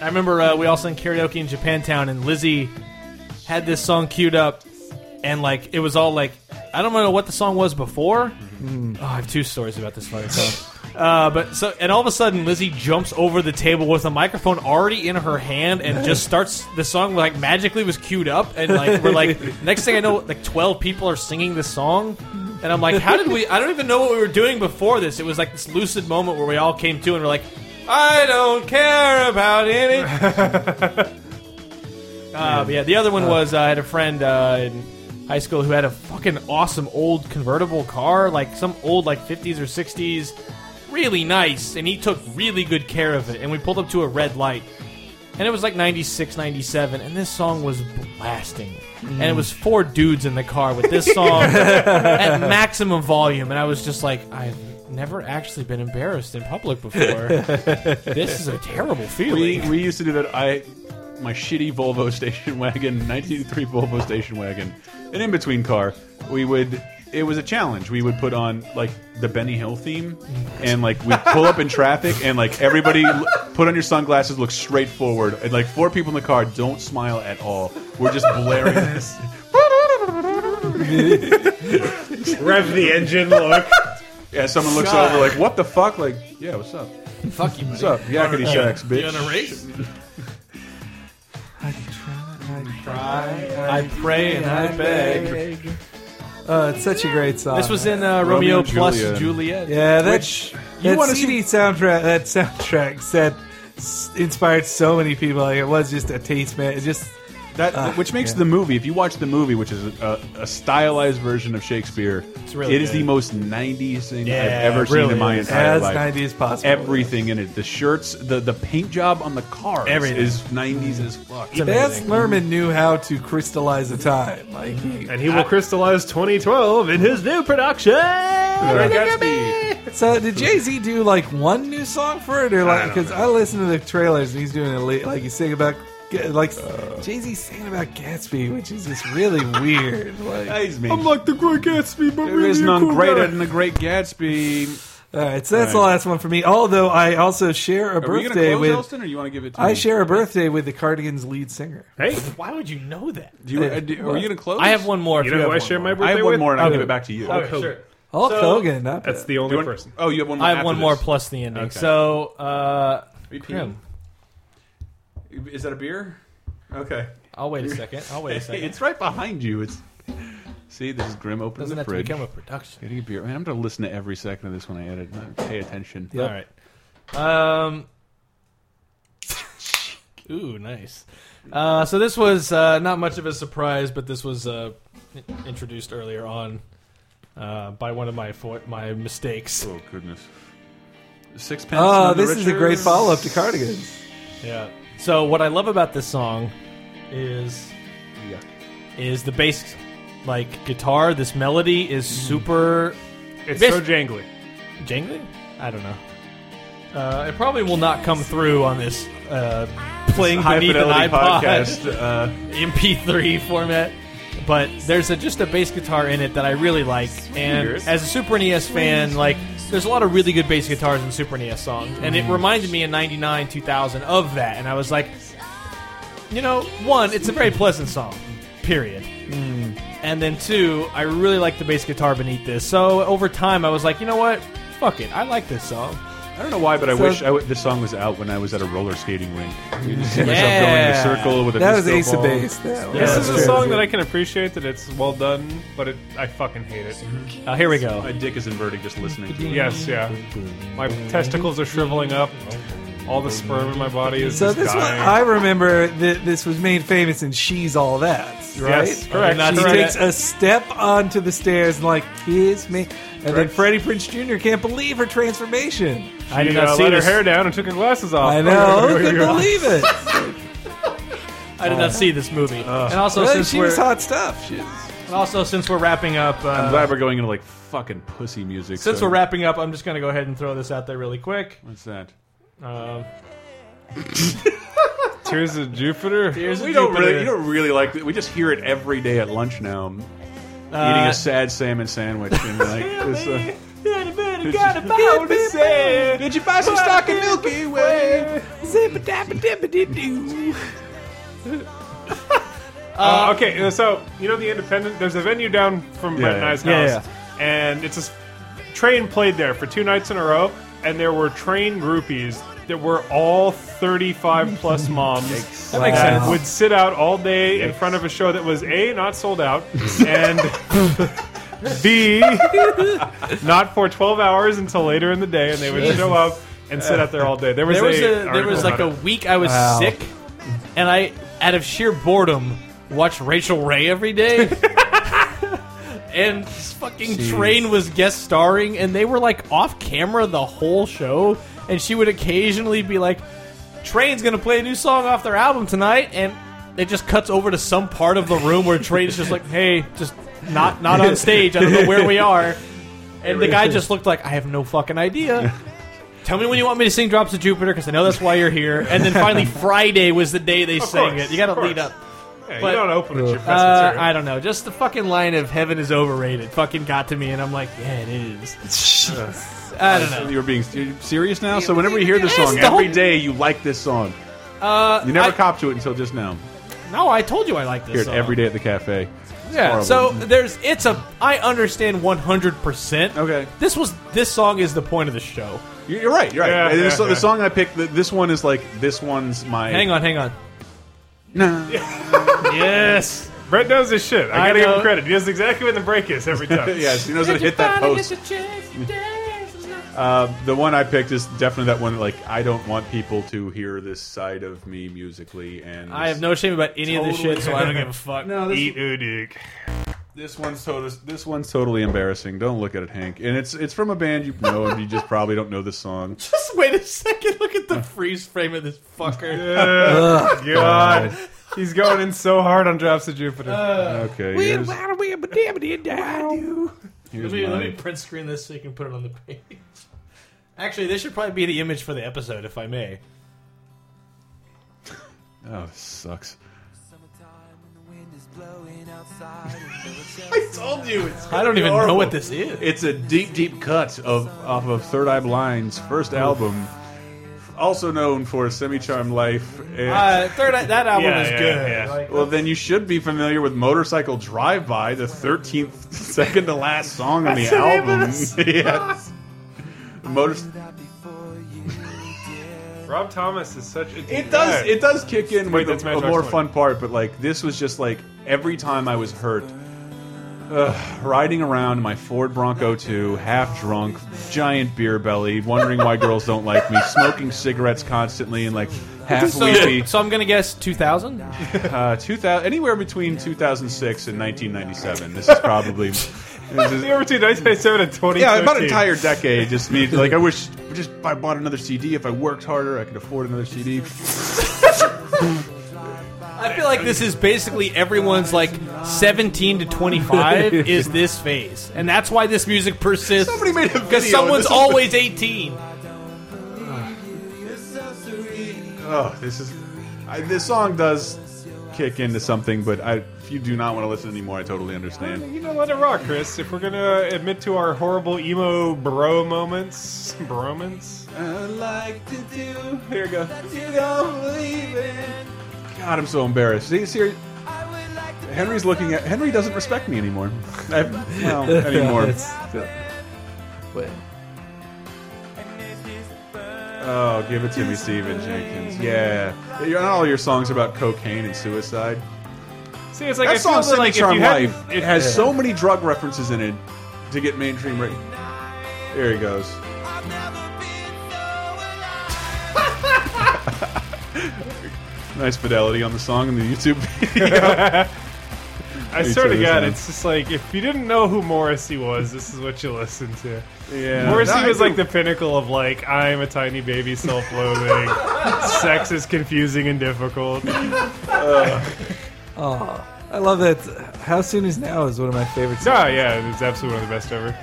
I remember uh, we all sang karaoke in Japantown, and Lizzie had this song queued up, and like it was all like I don't know what the song was before. Oh, I have two stories about this fucking song. Uh, but so and all of a sudden Lizzie jumps over the table with a microphone already in her hand and just starts the song like magically was queued up and like we're like next thing I know like twelve people are singing this song and I'm like how did we I don't even know what we were doing before this it was like this lucid moment where we all came to and we're like I don't care about any uh, but yeah, the other one was uh, I had a friend uh, in high school who had a fucking awesome old convertible car, like some old like 50s or 60s, really nice, and he took really good care of it. And we pulled up to a red light, and it was like 96, 97, and this song was blasting. And Mm. it was four dudes in the car with this song at maximum volume, and I was just like, I've never actually been embarrassed in public before. this is a terrible We feeling. we used to do that. I my shitty Volvo station wagon, 1983 Volvo station wagon, an in between car. We would. It was a challenge. We would put on like the Benny Hill theme, and like we'd pull up in traffic, and like everybody l- put on your sunglasses, look straight forward, and like four people in the car don't smile at all. We're just blaring this. Rev the engine. Look. Yeah, someone looks over like, "What the fuck?" Like, yeah, what's up? Fuck you, What's up? Yakety shacks, bitch. I pray and I beg. Uh, it's such a great song. This was in uh, Romeo Romeo, and plus Juliet. Juliet. yeah. That that wanna CD soundtrack. That soundtrack set s- inspired so many people. Like, it was just a taste man. It just That which makes the movie. If you watch the movie, which is a, a stylized version of Shakespeare, it's really the good. most '90s thing I've Yeah, ever it seen really in my is. entire As life. 90s as possible. Everything in it, the shirts, the the paint job on the cars, Everything. is '90s as fuck. Baz Luhrmann knew how to crystallize the time. Like Mm-hmm. he, And he will crystallize 2012 in his new production. so, did Jay Z do like one new song for it, or like because I, listen to the trailers and he's doing it late, like he's singing about Ga- like Uh. Jay Z singing about Gatsby, which is just really weird. Like, Amazes me. I'm like the Great Gatsby, but There really is a none cool greater guy. than the Great Gatsby. all right, so that's the Right. last one for me. Although I also share a Are we going to birthday close, with Elston, or you want to give it to I me? share a birthday with the Cardigans lead singer. Hey, Why would you know that? Do you, uh, do, are you going to close? I have one more. if you know have who I one share more. my birthday I have one with? more, and I'll Okay. give it back to you. Okay, Do sure. Hulk So- Hogan, not That's bad. the you only want- person. oh, you have one. More I have after one more this. plus the ending. Okay. So, uh, Repeat. Grim, Is that a beer? Okay. I'll wait a second. I'll wait a second. It's right behind you. It's see, this is Grim opening doesn't the have to fridge. become a production. Getting a beer. Man, I'm going to listen to every second of this when I edit. and Pay attention. Yep. All right. Um. Ooh, nice. Uh, so this was uh, not much of a surprise, but this was uh, i- introduced earlier on uh, by one of my fo- my mistakes. Oh goodness. Sixpence. Oh, none the this is a great richer. follow up to Cardigans. Yeah. So what I love about this song is Yeah. is the bass like guitar. This melody is super It's Miss- so jangly. jangly. I don't know. Uh, it probably will not come through on this uh, playing High beneath an fidelity iPod. podcast. Uh, MP3 format. But there's a, just a bass guitar in it that I really like, and Yours? as a Super NES fan, like there's a lot of really good bass guitars in Super NES songs, and it Mm. reminded me in '99, 2000 of that, and I was like, you know, one, it's a very pleasant song, period, Mm. and then two, I really like the bass guitar beneath this. So over time, I was like, you know what, fuck it, I like this song. I don't know why, but I So- wish I w this song was out when I was at a roller skating rink. You just see Yeah. myself going in a circle with a That was disco Ace of ball. Base. That was- Yeah, this is that's a true. song that I can appreciate that it's well done, but it, I fucking hate it. Uh, here we go. My dick is inverted just listening to it. Yes, yeah. My testicles are shriveling up. All the sperm in my body is So just this one, dying. I remember that this was made famous in She's All That, right? Yes, correct. not She correct. takes a step onto the stairs and like kiss me, and then Correct. Freddie Prince Jr. can't believe her transformation. I did She, not uh, see let her this. hair down and took her glasses off. I oh, know, I couldn't believe it. I did not see this movie, and also Oh. Really, since she we're was hot stuff. She- and also since we're wrapping up. Uh, I'm glad we're going into like fucking pussy music. Since so- we're wrapping up, I'm just going to go ahead and throw this out there really quick. what's that? Um, Tears of Jupiter. we don't really, you don't really like. We just hear it every day at lunch now. eating uh, a sad salmon sandwich and like. this, uh, Did you buy some stock in Milky Way? Uh, okay, uh, so you know the Independent. There's a venue down from Yeah, Brett and yeah. I's Yeah, house, and it's a s- train played there for two nights in a row, and there were train groupies that were all 35 plus moms. That that makes sense. Uh, Would sit out all day in front of a show that was a not sold out and b not for 12 hours until later in the day, and they would show up and sit out there all day. There was there was a, a, there was like a article week I was Wow. sick, and I, out of sheer boredom, watched Rachel Ray every day. and this fucking train was guest starring, and they were like off camera the whole show, and she would occasionally be like, Train's gonna play a new song off their album tonight, and it just cuts over to some part of the room where Train's just like, "Hey, just not not on stage. I don't know where we are." And the guy just looked like, "I have no fucking idea." Tell me when you want me to sing "Drops of Jupiter" because I know that's why you're here. And then finally, Friday was the day they sang course, it. You got of to course. lead up. about it. Yeah, but- you don't open with your best Uh, material. I don't know. Just the fucking line of "Heaven is overrated" fucking got to me, and I'm like, "Yeah, it is." I don't know. You were being uh, you're serious now. So whenever you hear this Yes, song, the every whole- day you like this song. Uh, You never I- cop to it until just now. no, I told you I like this. Hear it song. every day at the cafe. Yeah. horrible. So there's it's a I understand 100. percent Okay. This was this song is the point of the show. You're, you're right. You're right. Yeah, And this- yeah, the yeah. song I picked, th- this one is like this one's my. Hang on, hang on. Nah. Yes. Brett knows his shit. I I gotta give know. him credit. He knows exactly what the break is every time. yes, he knows how to hit that post. Uh, the one I picked is definitely that one. Like, I don't want people to hear this side of me musically, and I have no shame about any of this shit, so I don't give a fuck. No, this, Eat Udyk. this one's totally this one's totally embarrassing. Don't look at it, Hank. And it's it's from a band you know, and you just probably don't know the song. Just wait a second. Look at the freeze frame of this fucker. God. He's going in so hard on Drops of Jupiter. Uh, Okay, here's, here's Let me, let me mine. print screen this so you can put it on the page. Actually, this should probably be the image for the episode, if I may. Oh, this sucks. Summertime when the wind is blowing outside. Told you it's I don't even know what this is. It's a deep, deep cut of off of Third Eye Blind's first album, also known for Semi Charmed Life. And, Uh, third, Eye- that album Yeah, is yeah, good. yeah. Like, well, then you should be familiar with Motorcycle Drive By, the thirteenth, second to last song on the album. yes, The motor. Rob Thomas is such a. It does. It does kick in Wait, with that's a, my a next more one. fun part, but like this was just like every time I was hurt, ugh, riding around in my Ford Bronco 2, half drunk, giant beer belly, wondering why girls don't like me, smoking cigarettes constantly, and like half so, weepy. so I'm gonna guess 2000. Uh, 2000, anywhere between 2006 and 1997. This is probably. this is- Number two, 1997 and 20. yeah, about an entire decade. Just me, like I wish, just if I bought another CD. If I worked harder, I could afford another CD. I feel like this is basically everyone's like 17 to 25 is this phase, and that's why this music persists. Somebody made a because video, and someone's this is- always 18. Oh, this is. I, this song does kick into something, but I, if you do not want to listen anymore, I totally understand. You know, let it rock, Chris. If we're gonna admit to our horrible emo bro moments, bromance. I like to do. Here you go. You don't believe in. God, I'm so embarrassed. See, see, Henry's looking at. Henry doesn't respect me anymore. I, well, anymore. It's- Oh, give it to me, Steven Jenkins. Yeah, You're- not all your songs about cocaine and suicide. See, it's like I That feel song, that, Semi like if Charm you hadn't- Life, if- it has so many drug references in it to get mainstream. Ra- there he goes. nice fidelity on the song and the YouTube video. I swear to Each other's God, name. it's just like if you didn't know who Morrissey was, this is what you listen to. yeah. Morrissey No, I was like do- the pinnacle of like I'm a tiny baby, self-loathing. Sex is confusing and difficult. I love that. How soon is now is one of my favorite. Songs. Ah, yeah, it's absolutely one of the best ever.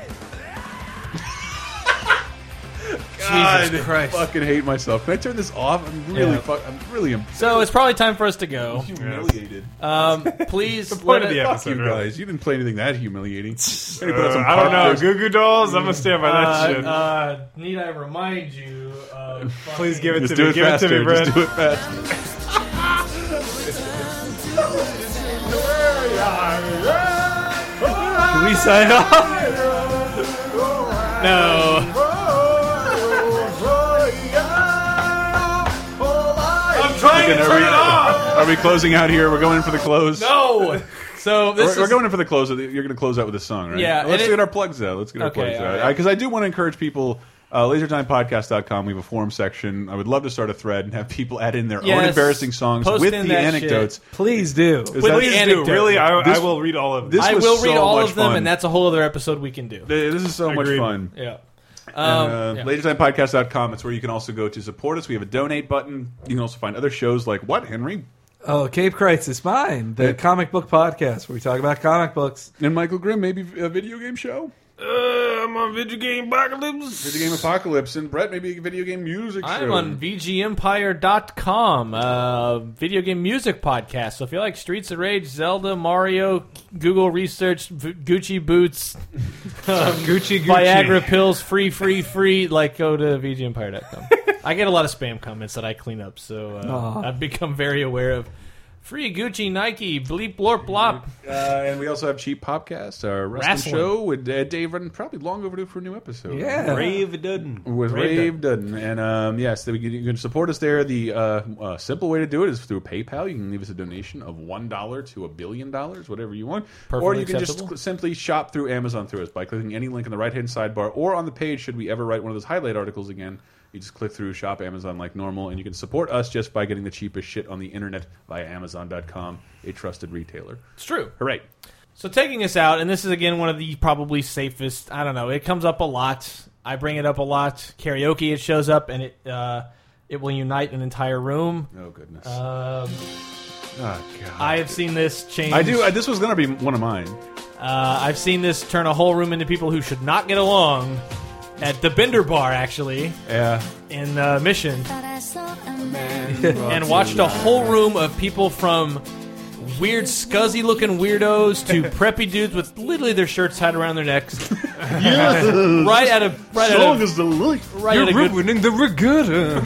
God, Jesus Christ. I fucking hate myself. Can I turn this off? I'm really fuck. I'm really am- So it's probably time for us to go. humiliated. Um, please, point let of the it- episode. Fuck you really. guys. You didn't play anything that humiliating. I Uh, I don't know, Goo Goo Dolls. I'm gonna stand by that uh, shit. uh, need I remind you? Of Please give it Just to do me. it Give it to faster. me, Brad. Just do it faster. Can we sign off? no. I'm trying to turn it off. Are we closing out here? We're going in for the close. No. So this We're, is we're going in for the close. You're going to close out with a song, right? Yeah, and Let's it- get our plugs out. Let's get our Okay, plugs all out. right. Because I do want to encourage people. Uh, LaserTimePodcast.com. We have a forum section. I would love to start a thread and have people add in their own Yes. embarrassing songs Post with in the that anecdotes. Please do. Is With that- the Please do. anecdotes. Really, I, This- I will read all of them. This I was will so read all much of them, fun. and that's a whole other episode we can do. Th- This is so much Agreed. fun. Yeah. Um, Um, uh, yeah. LaserTimePodcast.com. It's where you can also go to support us. We have a donate button. You can also find other shows like What, Henry? Oh, Cape Crisis Mine, the comic book podcast where we talk about comic books. And Michael Grimm, maybe a video game show? Uh, I'm on video game apocalypse. Video game apocalypse. And Brett, maybe a video game music show. I'm on VGEmpire.com, uh, video game music podcast. So if you like Streets of Rage, Zelda, Mario, Google Research, v- Gucci Boots, Gucci Gucci. Viagra pills, free, free, free, like go to Ah. VGEmpire.com. I get a lot of spam comments that I clean up, so uh, I've become very aware of Free Gucci, Nike, bleep, blorp, blop. Uh, and we also have Cheap Popcast, our wrestling, Wrestling. show with uh, Dave Rudden, probably long overdue for a new episode. Yeah. Brave Dudden. With Rave Dudden. And um, yes, you can- you can support us there. The uh, uh, simple way to do it is through PayPal. You can leave us a donation of $1 to a billion dollars, whatever you want. or Perfectly you can just acceptable. cl- simply shop through Amazon through us by clicking any link in the right hand sidebar or on the page, should we ever write one of those highlight articles again. You just click through Shop Amazon like normal, and you can support us just by getting the cheapest shit on the internet via Amazon.com, a trusted retailer. It's true. Hooray. So taking us out, and this is again one of the probably safest. I don't know. It comes up a lot. I bring it up a lot. Karaoke, it shows up, and it uh, it will unite an entire room. Oh, goodness. Um, oh, God. I have seen this change. I do. I, this was going to be one of mine. Uh, I've seen this turn a whole room into people who should not get along. At the Bender Bar, actually, Yeah. in uh, Mission, Thought I saw a man. and watched a whole room of people from weird, scuzzy looking weirdos to preppy dudes with literally their shirts tied around their necks. right out of right out of, as the light. right out of good, the regatta.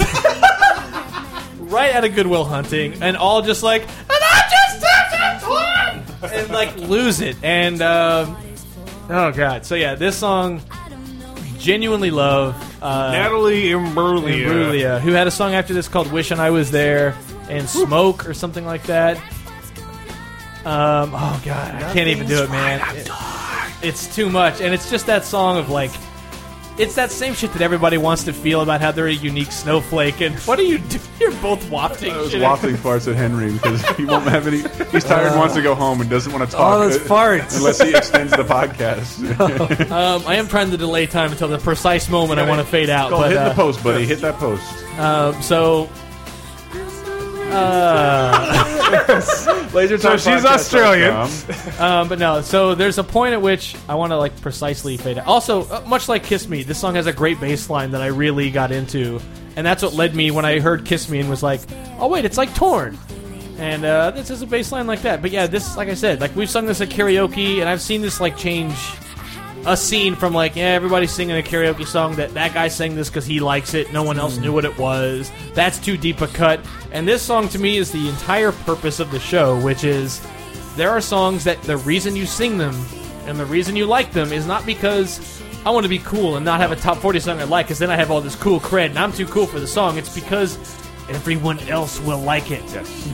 right out of Goodwill Hunting, and all just like, and I just touched a toy!" and like lose it. And uh, oh god, so yeah, this song genuinely love uh, Natalie Imbruglia. Imbruglia, who had a song after this called "Wishing I Was There" and "Smoke" or something like that. Um, oh god, I can't even do it, man. It- it's too much, and it's just that song of like. It's that same shit that everybody wants to feel about how they're a unique snowflake. And what are you doing? You're both wafting. I was shit. wafting farts at Henry because he won't have any. He's tired, and wants to go home, and doesn't want to talk. All those farts. Unless he extends the podcast. Um, I am trying to delay time until the precise moment I want to fade out. Go But, hit the uh, post, buddy. Hit that post. um, so Laser time she's podcast. Australian. Um, Um, but no, so there's a point at which I want to like precisely fade out. Also, uh, much like Kiss Me, this song has a great bass line that I really got into, and that's what led me when I heard Kiss Me and was like, oh wait, it's like Torn, and uh, this is a bass line like that. But yeah, this, like I said, like we've sung this at karaoke, and I've seen this like change a scene from like yeah, everybody's singing a karaoke song that that guy sang this because he likes it. No one Mm. else knew what it was. That's too deep a cut. And this song to me is the entire purpose of the show, which is there are songs that the reason you sing them and the reason you like them is not because I want to be cool and not have a top 40 song I like because then I have all this cool cred and I'm too cool for the song. It's because everyone else will like it.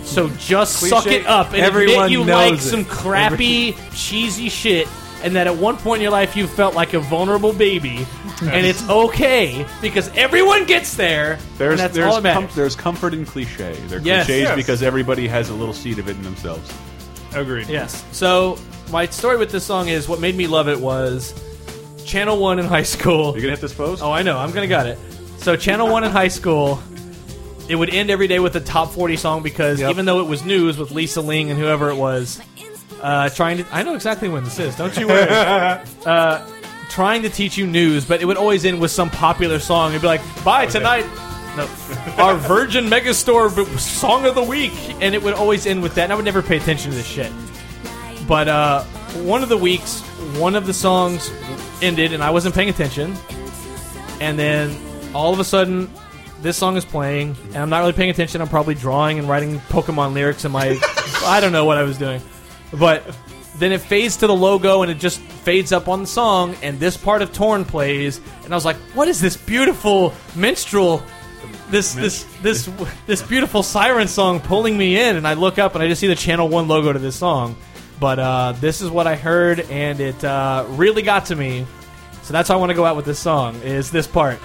So just suck Cliche. it up and Everyone admit you knows like it. some crappy, cheesy shit, and that at one point in your life you felt like a vulnerable baby, and it's okay because everyone gets there. there's and that's there's, all that com- matters. there's comfort in cliche. They're Yes. cliches Yes. because everybody has a little seed of it in themselves. Agreed. Yes. So my story with this song is what made me love it was Channel One in high school. You gonna hit this post? Oh, I know. I'm gonna got it. So Channel One in high school, it would end every day with a top 40 song because even though it was news with Lisa Ling and whoever it was, uh, trying to. I know exactly when this is. Don't you worry. uh, trying to teach you news, but it would always end with some popular song. It'd be like, "Bye tonight." No, our Virgin Megastore b- song of the week, and it would always end with that. And I would never pay attention to this shit. But uh, one of the weeks, one of the songs ended, and I wasn't paying attention. And then all of a sudden, this song is playing, and I'm not really paying attention. I'm probably drawing and writing Pokemon lyrics in my. I don't know what I was doing. But then it fades to the logo, and it just fades up on the song, and this part of Torn plays, and I was like, what is this beautiful minstrel? This this this this beautiful siren song pulling me in, and I look up and I just see the Channel One logo to this song, but uh, this is what I heard, and it uh, really got to me. So that's how I want to go out with this song is this part.